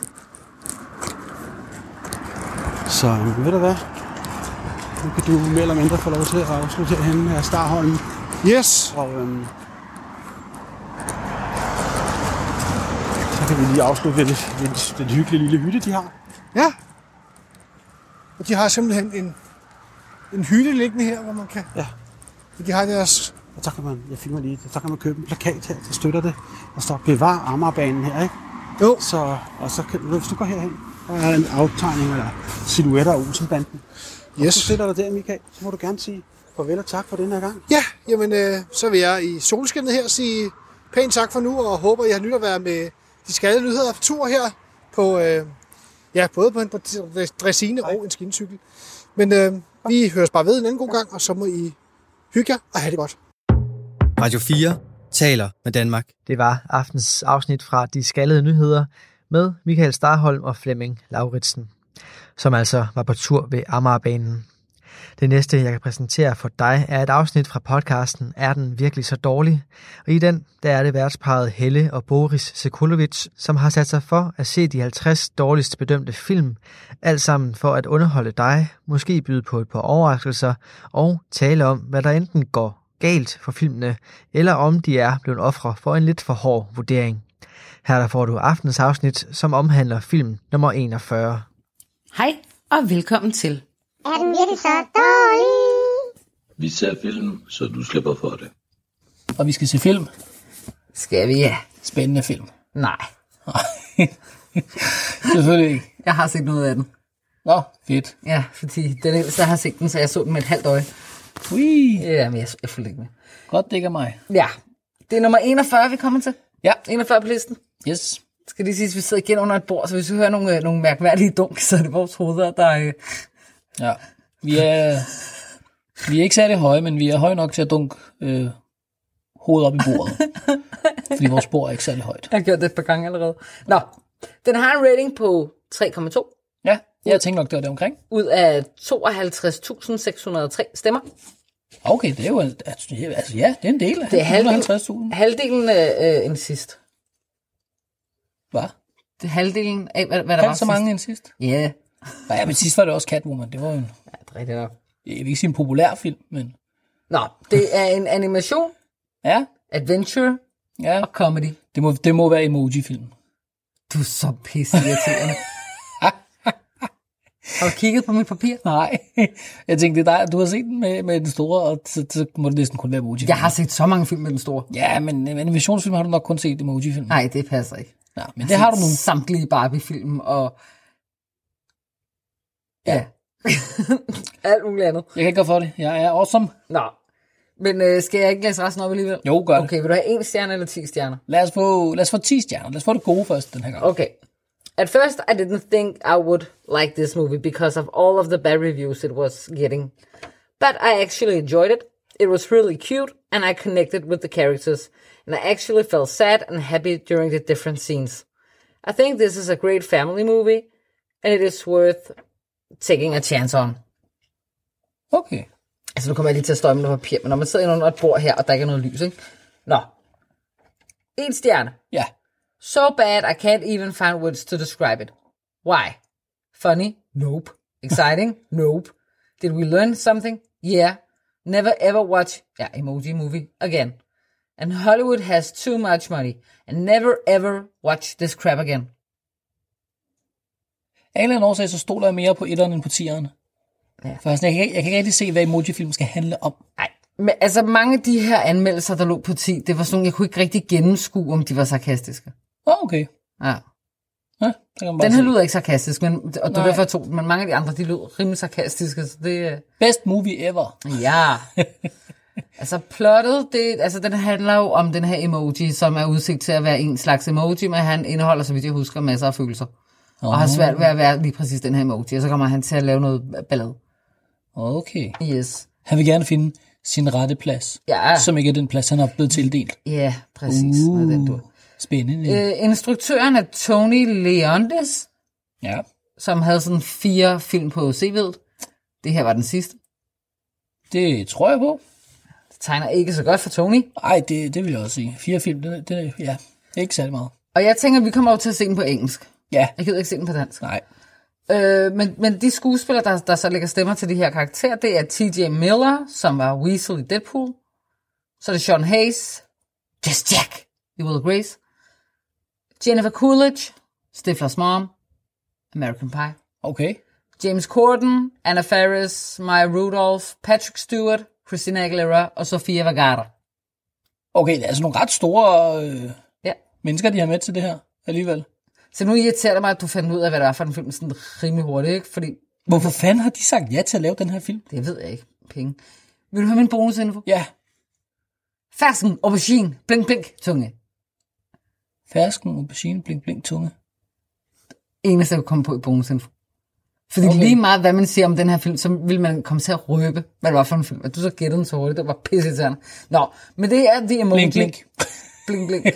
S3: Så øh, ved du hvad? Nu kan du mere eller mindre få lov til at afslutte herhenne med Starholm.
S4: Yes.
S3: Og øhm, så kan vi lige afslutte ved, det- ved, det- den hyggelige lille hytte, de har.
S4: Ja. Og de har simpelthen en, en hytte liggende her, hvor man kan...
S3: Ja.
S4: De har deres...
S3: Og så kan man, jeg filmer lige, så kan man købe en plakat her, der støtter det. Der står bevar Amagerbanen her, ikke?
S4: Jo.
S3: Så, og så kan, hvis du går herhen, der er en aftegning eller silhuetter af Olsenbanden. Hvis du
S4: Yes.
S3: sætter dig der, Michael, så må du gerne sige farvel og tak for den her gang.
S4: Ja, jamen, øh, så vil jeg i solskinnet her sige pænt tak for nu, og håber, I har nyt at være med de skaldede nyheder på tur her, på, øh, ja, både på en dressine og en skincykel. Men øh, vi høres bare ved en anden god gang, og så må I hygge jer og have det godt.
S1: Radio 4 taler med Danmark.
S2: Det var aftens afsnit fra De Skaldede Nyheder med Michael Starholm og Flemming Lauritsen, som altså var på tur ved Amagerbanen. Det næste, jeg kan præsentere for dig, er et afsnit fra podcasten Er den virkelig så dårlig? Og i den, der er det værtsparet Helle og Boris Sekulovic, som har sat sig for at se de 50 dårligst bedømte film, alt sammen for at underholde dig, måske byde på et par overraskelser og tale om, hvad der enten går galt for filmene, eller om de er blevet ofre for en lidt for hård vurdering. Her der får du aftens afsnit, som omhandler film nummer 41.
S6: Hej og velkommen til.
S7: Er den virkelig så dårlig?
S8: Vi ser film, så du slipper for det.
S9: Og vi skal se film.
S6: Skal vi? Ja.
S9: Spændende film.
S6: Nej,
S9: Selvfølgelig ikke.
S6: jeg har set noget af den.
S9: Nå, fedt.
S6: Ja, fordi den ældste har set den, så jeg så den med et halvt øje.
S9: Ui,
S6: Ja, men jeg, jeg fulgte ikke med.
S9: godt dækker mig.
S6: Ja, det er nummer 41, vi kommer til.
S9: Ja.
S6: 41 på listen.
S9: Yes.
S6: Skal lige sige, at vi sidder igen under et bord, så hvis vi hører nogle, øh, nogle mærkværdige dunk, så er det vores hoveder, der... Øh...
S9: Ja. Vi er, vi er ikke særlig høje, men vi er høje nok til at dunke øh, hovedet op i bordet. fordi vores bord er ikke særlig højt.
S6: Jeg har gjort det et par gange allerede. Nå, den har en rating på 3,2
S9: Ja, jeg tænkte nok, det var det omkring.
S6: ud af 52.603 stemmer.
S9: Ah, Okay, det er jo... en- Altså, ja, det er en del af
S6: Det er halvdelen,
S9: 150.000.
S6: halvdelen øh, øh, end sidst.
S9: Hvad?
S6: Det er halvdelen af, hvad, hvad der var
S9: Halvt så mange end sidst?
S6: sidst. Ja,
S9: Nej, men sidst var det også Catwoman. Det var jo en...
S6: ja det er rigtigt nok.
S9: Jeg vil ikke sige en populær film, men...
S6: Nå, det er en animation,
S9: Ja,
S6: adventure
S9: ja.
S6: og comedy.
S9: Det må, det må være emoji-film.
S6: Du er så pisse irriterende. Har du kigget på mit papir?
S9: Nej, jeg tænkte, det er dig. Du har set den med, med den store, og så, så må det næsten kun være emoji
S6: Jeg har set så mange film med den store.
S9: Ja, men øh, animationsfilm har du nok kun set emoji-film.
S6: Nej, det passer ikke.
S9: Ja, men det har du nu.
S6: Samtlige Barbie-film og... Ja. Alt muligt andet.
S9: Jeg kan ikke gøre for det. Jeg er awesome.
S6: Nå. Men øh, skal jeg ikke læse resten op alligevel?
S9: Jo, gør det.
S6: Okay, vil du have en stjerne eller 10 stjerner?
S9: Lad os, få, lad os få 10 stjerner. Lad os få det gode først den her gang.
S6: Okay. At first, I didn't think I would like this movie because of all of the bad reviews it was getting. But I actually enjoyed it. It was really cute, and I connected with the characters, and I actually felt sad and happy during the different scenes. I think this is a great family movie, and it is worth taking a chance on.
S9: Okay.
S6: Altså, nu kommer jeg lige til at støje med noget papir, men når man sidder inde under et bord her, og der ikke er noget lys, ikke? Nå. En stjerne.
S9: Ja.
S6: So bad I can't even find words to describe it. Why? Funny? Nope. Exciting? nope. Did we learn something? Yeah. Never ever watch yeah, emoji movie again. And Hollywood has too much money. And never ever watch this crap again.
S9: Af en eller anden årsag, så stoler jeg mere på etteren end på tieren.
S6: Ja.
S9: Ja. For jeg, sådan, jeg, kan ikke, jeg kan ikke rigtig se, hvad emojifilm skal handle om.
S6: Nej. Men altså mange af de her anmeldelser, der lå på 10, det var sådan, jeg kunne ikke rigtig gennemskue, om de var sarkastiske.
S9: Åh, okay.
S6: Ja.
S9: Ja, det kan man bare
S6: Den her
S9: se.
S6: lyder ikke sarkastisk, men, og det var
S9: Nej.
S6: derfor jeg tog den, men mange af de andre, de lød rimelig sarkastiske, så det... øh,
S9: Best movie ever.
S6: Ja. altså plottet, det, altså, den handler jo om den her emoji, som er udsigt til at være en slags emoji, men han indeholder, så vidt jeg husker, masser af følelser. Oh. Og har svært ved at være lige præcis den her emoji, og så kommer han til at lave noget ballade.
S9: Okay.
S6: Yes.
S9: Han vil gerne finde sin rette plads,
S6: Ja.
S9: som ikke er den plads, han er blevet tildelt.
S6: Ja, yeah, præcis. Uh. Noget af den du.
S9: spændende.
S6: Øh, instruktøren er Tony Leontes,
S9: Ja.
S6: som havde sådan fire film på CV'et. Det her var den sidste.
S9: Det tror jeg på.
S6: Det tegner ikke så godt for Tony.
S9: Nej, det, det vil jeg også sige. Fire film, det, det, ja, det er ikke særlig meget.
S6: Og jeg tænker, vi kommer jo til at se den på engelsk.
S9: Ja,
S6: Jeg gider ikke se den på dansk.
S9: nej.
S6: Øh, men, men de skuespillere, der, der så lægger stemmer til de her karakterer, det er T.J. Miller, som var Weasel i Deadpool. Så er det Sean Hayes, Just Jack i Will Grace. Jennifer Coolidge, Stiflers mom, American Pie.
S9: Okay.
S6: James Corden, Anna Faris, Maya Rudolph, Patrick Stewart, Christina Aguilera og Sofia Vergara.
S9: Okay, det er altså nogle ret store øh,
S6: Ja.
S9: mennesker, de har med til det her alligevel.
S6: Så nu irriterer det mig, at du fandt ud af, hvad det var for en film sådan rimelig hurtigt, ikke? Fordi
S9: Hvorfor fanden har de sagt ja til at lave den her film?
S6: det ved jeg ikke. Penge. Vil du have min bonusinfo?
S9: Ja,
S6: Fersken, aubergine, blink, blink, tunge.
S9: fersken, aubergine, blink, blink, tunge.
S6: eneste, jeg kunne komme på i bonusinfo. Fordi okay.
S9: Okay.
S6: lige meget, hvad man siger om den her film, så vil man komme til at røbe, hvad det var for en film. Og du så gættede den så hurtigt, det var pisse Nå, men det er The Emoji...
S9: Blink, blink.
S6: blink, blink.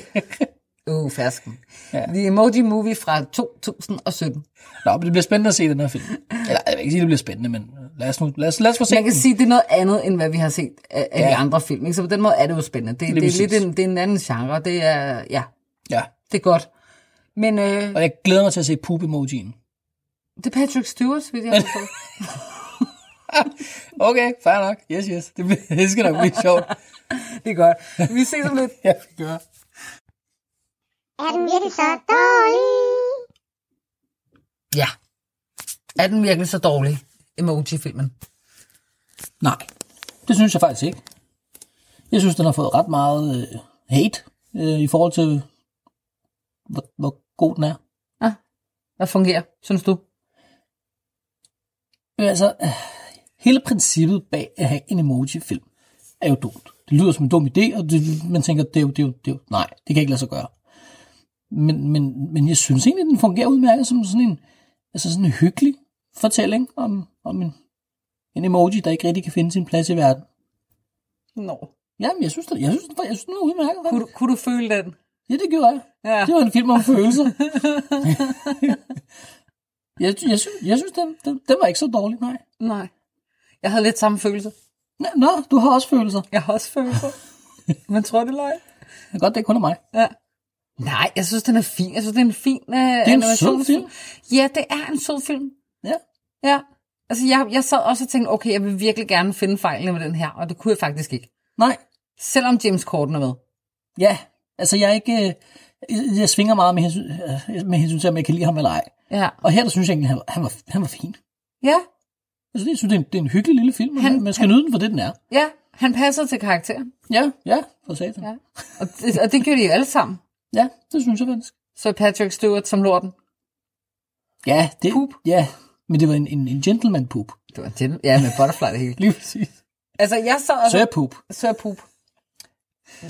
S6: Uh, fersken. Ja. The Emoji Movie fra 2017.
S9: Nå, men det bliver spændende at se den her film. Eller, jeg vil ikke sige, at det bliver spændende, men lad os, nu, lad os, lad os få se
S6: Man kan
S9: den.
S6: sige, det er noget andet, end hvad vi har set af, af ja. de
S9: Ja.
S6: andre film. Ikke? Så på den måde er det jo spændende. Det, det, det
S9: Lige
S6: er lidt
S9: præcis.
S6: en, det er en anden genre. Det er, ja,
S9: Ja,
S6: det er godt. Men øh,
S9: og jeg glæder mig til at se poop-emojien.
S6: det er Patrick Stewart, vil jeg forstå.
S9: Okay, fair nok. Yes, yes. Det, bliver, det skal nok blive sjovt.
S6: Det er godt. Vi ses om lidt.
S9: Ja, vi gør.
S10: Er den virkelig så dårlig?
S6: Ja. Er den virkelig så dårlig, emoji-filmen?
S9: Nej, det synes jeg faktisk ikke. Jeg synes, den har fået ret meget øh, hate øh, i forhold til, hvor, hvor god den er.
S6: Hvad fungerer, synes du?
S9: Men altså, øh, hele princippet bag at have en emoji-film er jo dumt. Det lyder som en dum idé, og det, man tænker, det er, jo, det, er jo, det er jo, nej, det kan ikke lade sig gøre. Men, men, men jeg synes egentlig, den fungerer udmærket som sådan en, altså sådan en hyggelig fortælling om, om en, en emoji, der ikke rigtig kan finde sin plads i verden.
S6: Nå.
S9: Jamen, jeg synes, det, jeg synes, det, jeg synes, det er udmærket.
S6: Kunne du, kunne du føle den?
S9: Ja, det gjorde jeg.
S6: Ja.
S9: Det var en film om følelser. jeg, jeg, synes, jeg synes den, den, den var ikke så dårlig, nej.
S6: Nej. Jeg havde lidt samme følelse.
S9: Nå, Nå, du har også følelser.
S6: Jeg har også følelser. Man tror det løg.
S9: Det er godt, det er kun af mig.
S6: Ja. Nej, jeg synes, den er fin. Jeg synes, det er en fin uh, det
S9: en sød film.
S6: Ja, det er en sød film.
S9: Ja.
S6: Ja. Altså, jeg, jeg sad også og tænkte, okay, jeg vil virkelig gerne finde fejlene med den her, og det kunne jeg faktisk ikke.
S9: Nej,
S6: Selvom James Corden er med.
S9: ja. Altså, jeg er ikke... øh, Jeg, jeg svinger meget med hensyn, øh, med hensyn til, om jeg kan lide ham eller ej.
S6: Ja.
S9: Og her, der synes jeg egentlig, han var, han var, han var fin.
S6: Ja,
S9: Altså, jeg synes, det er en, det er en hyggelig lille film.
S6: Han-
S9: Han, man skal nyde den for det, den er.
S6: ja. Han passer til karakteren.
S9: Ja, ja, for satan.
S6: Ja.
S9: Ja.
S6: Og det, og det gjorde de jo alle sammen.
S9: ja, det synes jeg faktisk.
S6: Så Patrick Stewart som lorten.
S9: Ja, det,
S6: Poop.
S9: ja, men det var en, en, en gentleman-poop.
S6: Det var en gen- Ja, med butterfly det hele.
S9: Lige præcis.
S6: Altså, jeg sad og...
S9: Så er jeg poop.
S6: Sir Poop.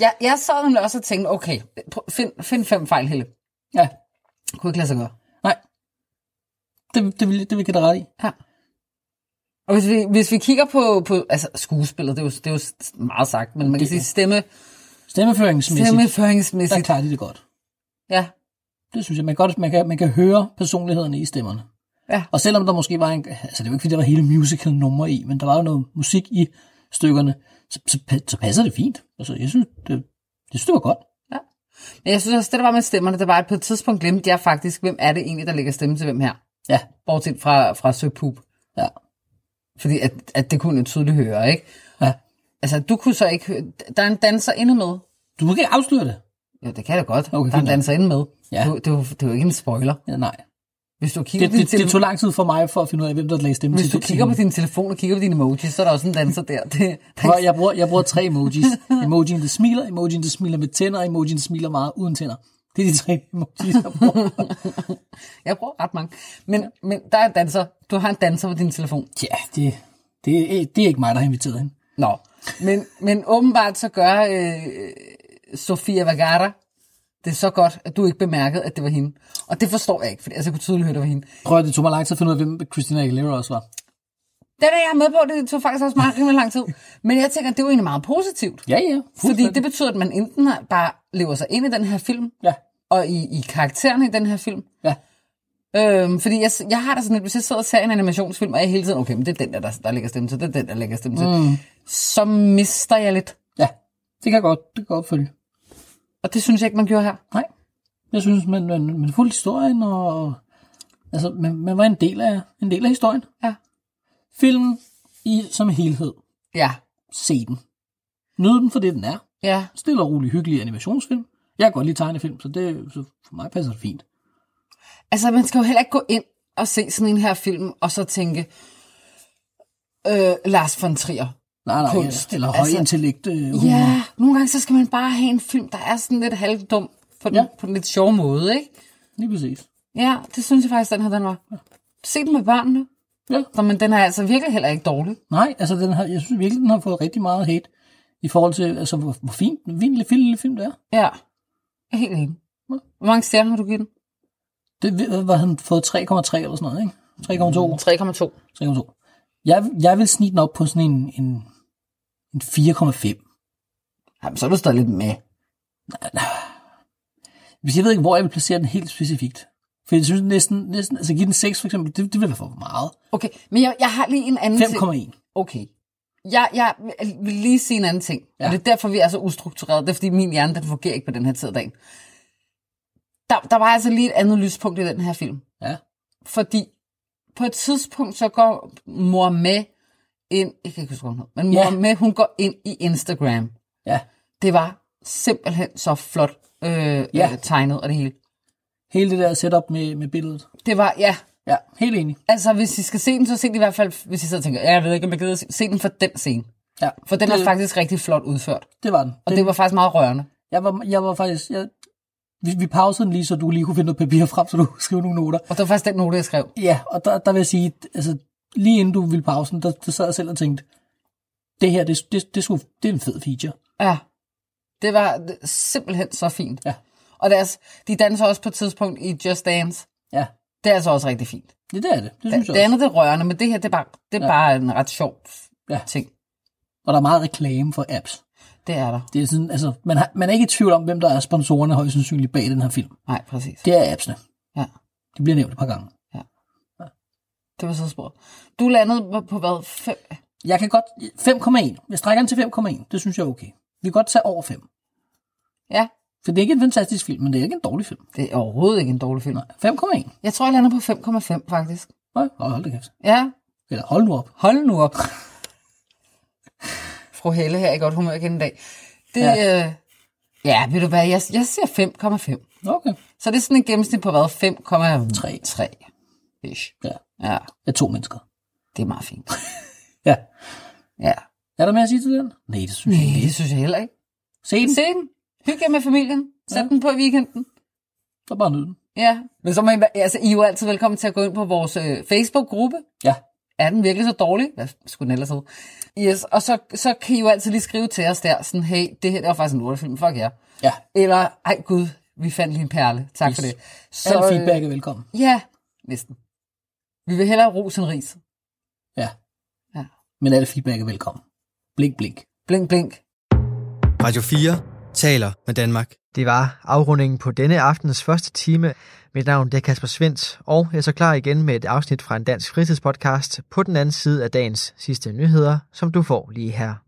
S6: Jeg, jeg sad nemlig også og tænkte, okay, prøv, find, find fem fejl, Helle.
S9: Ja,
S6: Kunne ikke lade sig gøre.
S9: nej. Det, det, vil, det vil jeg give dig ret i.
S6: Ja. Og hvis vi, hvis vi kigger på, på altså skuespillet, det er, jo, det er jo meget sagt, men man kan
S9: Det-
S6: sige stemme,
S9: Stemmeføringsmæssigt.
S6: Stemmeføringsmæssigt.
S9: Der klarer de det godt.
S6: Ja.
S9: Det synes jeg. Man kan, godt, man kan, man kan høre personlighederne i stemmerne.
S6: Ja.
S9: Og selvom der måske var en... Altså, det var ikke, fordi der var hele musical nummer i, men der var jo noget musik i stykkerne, så, så, pa- så passer det fint. Altså, jeg synes, det, jeg synes, det var godt.
S6: Men jeg synes også, det der var med stemmerne, det var, at på et tidspunkt glemte jeg faktisk, hvem er det egentlig, der lægger stemme til hvem her.
S9: Ja.
S6: Bortset fra, fra Søpup.
S9: Ja.
S6: Fordi at, at det kunne jeg tydeligt høre, ikke?
S9: Ja.
S6: Altså, du kunne så ikke høre... Der er en danser inde med.
S9: Du kan ikke afsløre det.
S6: Jo, det kan jeg da godt.
S9: Okay,
S6: Okay, der er en
S9: fint nok.
S6: danser inde med.
S9: Ja.
S6: Du, det, er jo, det er jo ikke en spoiler.
S9: Ja, nej.
S6: Hvis du kigger,
S9: Det,
S6: på din
S9: det, det,
S6: telefon,
S9: tog lang tid for mig for at finde ud af, hvem der lagde stemme
S6: hvis
S9: til
S6: du
S9: det.
S6: kigger på din telefon og kigger på dine emojis, så er der også en danser der. Det, der
S9: Prøv, at- jeg, bruger, jeg bruger tre emojis. Emojien, der smiler, emojien, der smiler med tænder, og emojien, der smiler meget uden tænder. Det er de tre emojis, jeg bruger.
S6: jeg bruger ret mange. Men, men der er en danser. Du har en danser på din telefon.
S9: Ja, det, det, er- det er ikke mig, der har inviteret hende.
S6: Nå, men, men åbenbart så gør øh, Sofia Vergara det så godt, at du ikke bemærkede, at det var hende. Og det forstår jeg ikke, for altså, jeg kunne tydeligt høre, det var hende.
S9: Prøv at det tog mig lang tid at finde ud af, hvem Christina Aguilera også var.
S6: Den er jeg med på, det tog faktisk også meget rimelig lang tid. Men jeg tænker, det er jo egentlig meget positivt.
S9: Ja, ja.
S6: Fordi det betyder, at man enten har- bare lever sig ind i den her film,
S9: Ja,
S6: og i, i karaktererne i den her film.
S9: ja.
S6: Øhm, fordi jeg, jeg har da sådan lidt, hvis jeg sidder og ser en animationsfilm, og jeg hele tiden, okay, men det er den der, der, der lægger stemme til, det er den, der lægger stemme til, mm. så mister jeg lidt.
S9: Ja, det kan jeg godt, det kan jeg godt følge.
S6: Og det synes jeg ikke, man gjorde her.
S9: Nej, jeg synes, man, man, man fulgte historien, og altså, man, man var en del, af, en del af historien.
S6: Ja.
S9: Filmen i, som helhed,
S6: Ja,
S9: se den. Nyd den for det, den er.
S6: ja.
S9: Stille og rolig, hyggelig animationsfilm. Jeg kan godt lide tegnefilm, så, det, så for mig passer det fint.
S6: Altså, man skal jo heller ikke gå ind og se sådan en her film, og så tænke, øh, Lars von Trier.
S9: Nej, nej,
S6: Kunst,
S9: Kunst, eller høj
S6: altså-
S9: altså, intellekt øh, humor.
S6: Ja, nogle gange så skal man bare have en film, der er sådan lidt halvdum, på den, ja.
S9: Ja.
S6: på den lidt sjove måde, ikke?
S9: Lige præcis.
S6: Ja, det synes jeg faktisk, den her, den var. Se den med børnene.
S9: Ja.
S6: Så, men den er altså virkelig heller ikke dårlig.
S9: Nej, altså den har, jeg synes virkelig, den har fået rigtig meget hate i forhold til, altså, hvor, hvor fint, hvor fin lille, fin lille film det er.
S6: Ja, jeg er helt enig. Hvor mange stjerner har du givet den?
S9: Det øh, var han fået 3,3 eller sådan noget, ikke? 3,2.
S6: 3,2.
S9: 3,2. Jeg, jeg vil snige den op på sådan en, en, en 4,5.
S6: Jamen, så er du stadig lidt med.
S9: Hvis jeg ved ikke, hvor jeg vil placere den helt specifikt. For jeg synes næsten, næsten altså give den 6 for eksempel, det, det vil være for meget.
S6: Okay, men jeg, jeg har lige en anden ting.
S9: 5,1.
S6: Okay. Jeg, jeg vil lige sige en anden ting, ja.
S9: Ja.
S6: og det er derfor, vi er så ustruktureret. Det er, fordi min hjerne, den fungerer ikke på den her tid af dagen. Der, der var altså lige et andet lyspunkt i den her film.
S9: Ja.
S6: Fordi på et tidspunkt, så går mor med ind... Jeg kan ikke huske, hvad hun hedder, Men mor
S9: Ja.
S6: ja. med, hun går ind i Instagram.
S9: Ja,
S6: Det var simpelthen så flot øh, ja.
S9: Ja.
S6: øh, tegnet og det hele.
S9: hele det der setup med, med billedet.
S6: Det var, ja,
S9: Ja, helt enig.
S6: Altså, hvis I skal se den, så se den i hvert fald, hvis I sidder og tænker, "Ja, jeg ved ikke, om jeg gider at se, se den for den scene.
S9: Ja,
S6: For den er
S9: det-
S6: faktisk rigtig flot udført.
S9: Det var den.
S6: Og det var faktisk meget rørende.
S9: Jeg var, jeg var faktisk... Jeg, vi, vi pausede den lige, så du lige kunne finde noget papir frem, så du kunne skrive nogle noter.
S6: Og det var faktisk den note, jeg skrev.
S9: Ja, og der, der vil jeg sige, altså, lige inden du ville pause den, der, der sad jeg selv og tænkte, det her, det, det, det, skulle, det er en fed feature.
S6: Ja. Det var d- simpelthen så fint.
S9: Ja.
S6: Og deres, de danser også på et tidspunkt i Just Dance.
S9: Ja,
S6: Det er altså også rigtig fint.
S9: det der er det. Det synes
S6: Det, det
S9: jeg også.
S6: andet det er rørende, men det her, det er bare, det er ja.
S9: Ja.
S6: bare en ret sjov f-
S9: Ja.
S6: ting.
S9: Og der er meget reklame for apps.
S6: Det er der.
S9: Det er sådan, altså, man, har, man er ikke i tvivl om, hvem der er sponsorerne højst sandsynligt bag den her film.
S6: Nej, præcis.
S9: Det er appsene.
S6: Ja.
S9: De bliver nævnt et par gange.
S6: Det var så spurgt. Du landede på- på hvad? Fem?
S9: Jeg kan godt... 5,1. Jeg strækker den til 5,1. Det synes jeg er okay. Vi kan godt tage over 5.
S6: Ja.
S9: For det er ikke en fantastisk film, men det er ikke en dårlig film.
S6: Det er overhovedet ikke en dårlig film.
S9: Nej, 5,1.
S6: Jeg tror, jeg lander på 5,5 faktisk.
S9: Nej, hold da kæft.
S6: Ja,
S9: Eller hold nu op.
S6: Hold nu op. Fru Helle her er i godt humør igen i dag. Det, ja. Øh, ja, ved du hvad, jeg, jeg siger 5,5.
S9: Okay.
S6: Så det er sådan et gennemsnit på hvad?
S9: 3.
S6: 5,3. Ish.
S9: Ja.
S6: Ja,
S9: Af to mennesker.
S6: det er meget fint.
S9: Ja.
S6: Ja,
S9: Er der mere at sige til den? Nej, det synes jeg
S6: Nej,
S9: ikke.
S6: det synes jeg heller ikke.
S9: Se den.
S6: Se den. Hygge jer med familien. Sæt ja. den på i weekenden.
S9: Så bare nyd den.
S6: Ja, men så må I, være- altså, I er jo altid velkommen til at gå ind på vores øh, Facebook-gruppe.
S9: Ja.
S6: Er den virkelig så dårlig? Hvad skulle den ellers hedde? Yes, og så, så kan I jo altid lige skrive til os der, sådan, hey, det her det var faktisk en lortefilm, fuck jer. Yeah.
S9: Ja.
S6: Eller, ej gud, vi fandt lige en perle. Tak yes.
S9: Yes.
S6: for det. Så,
S9: Al
S6: øh,
S9: feedback er velkommen.
S6: Ja, næsten. Vi vil hellere ros end ris.
S9: Ja. men alle feedback er velkommen. Blink, blink.
S6: Blink, blink.
S1: Radio 4 taler med Danmark.
S2: Det var afrundingen på denne aftens første time. Mit navn det er Kasper Svendt, og jeg er så klar igen med et afsnit fra en dansk fritidspodcast på den anden side af dagens sidste nyheder, som du får lige her.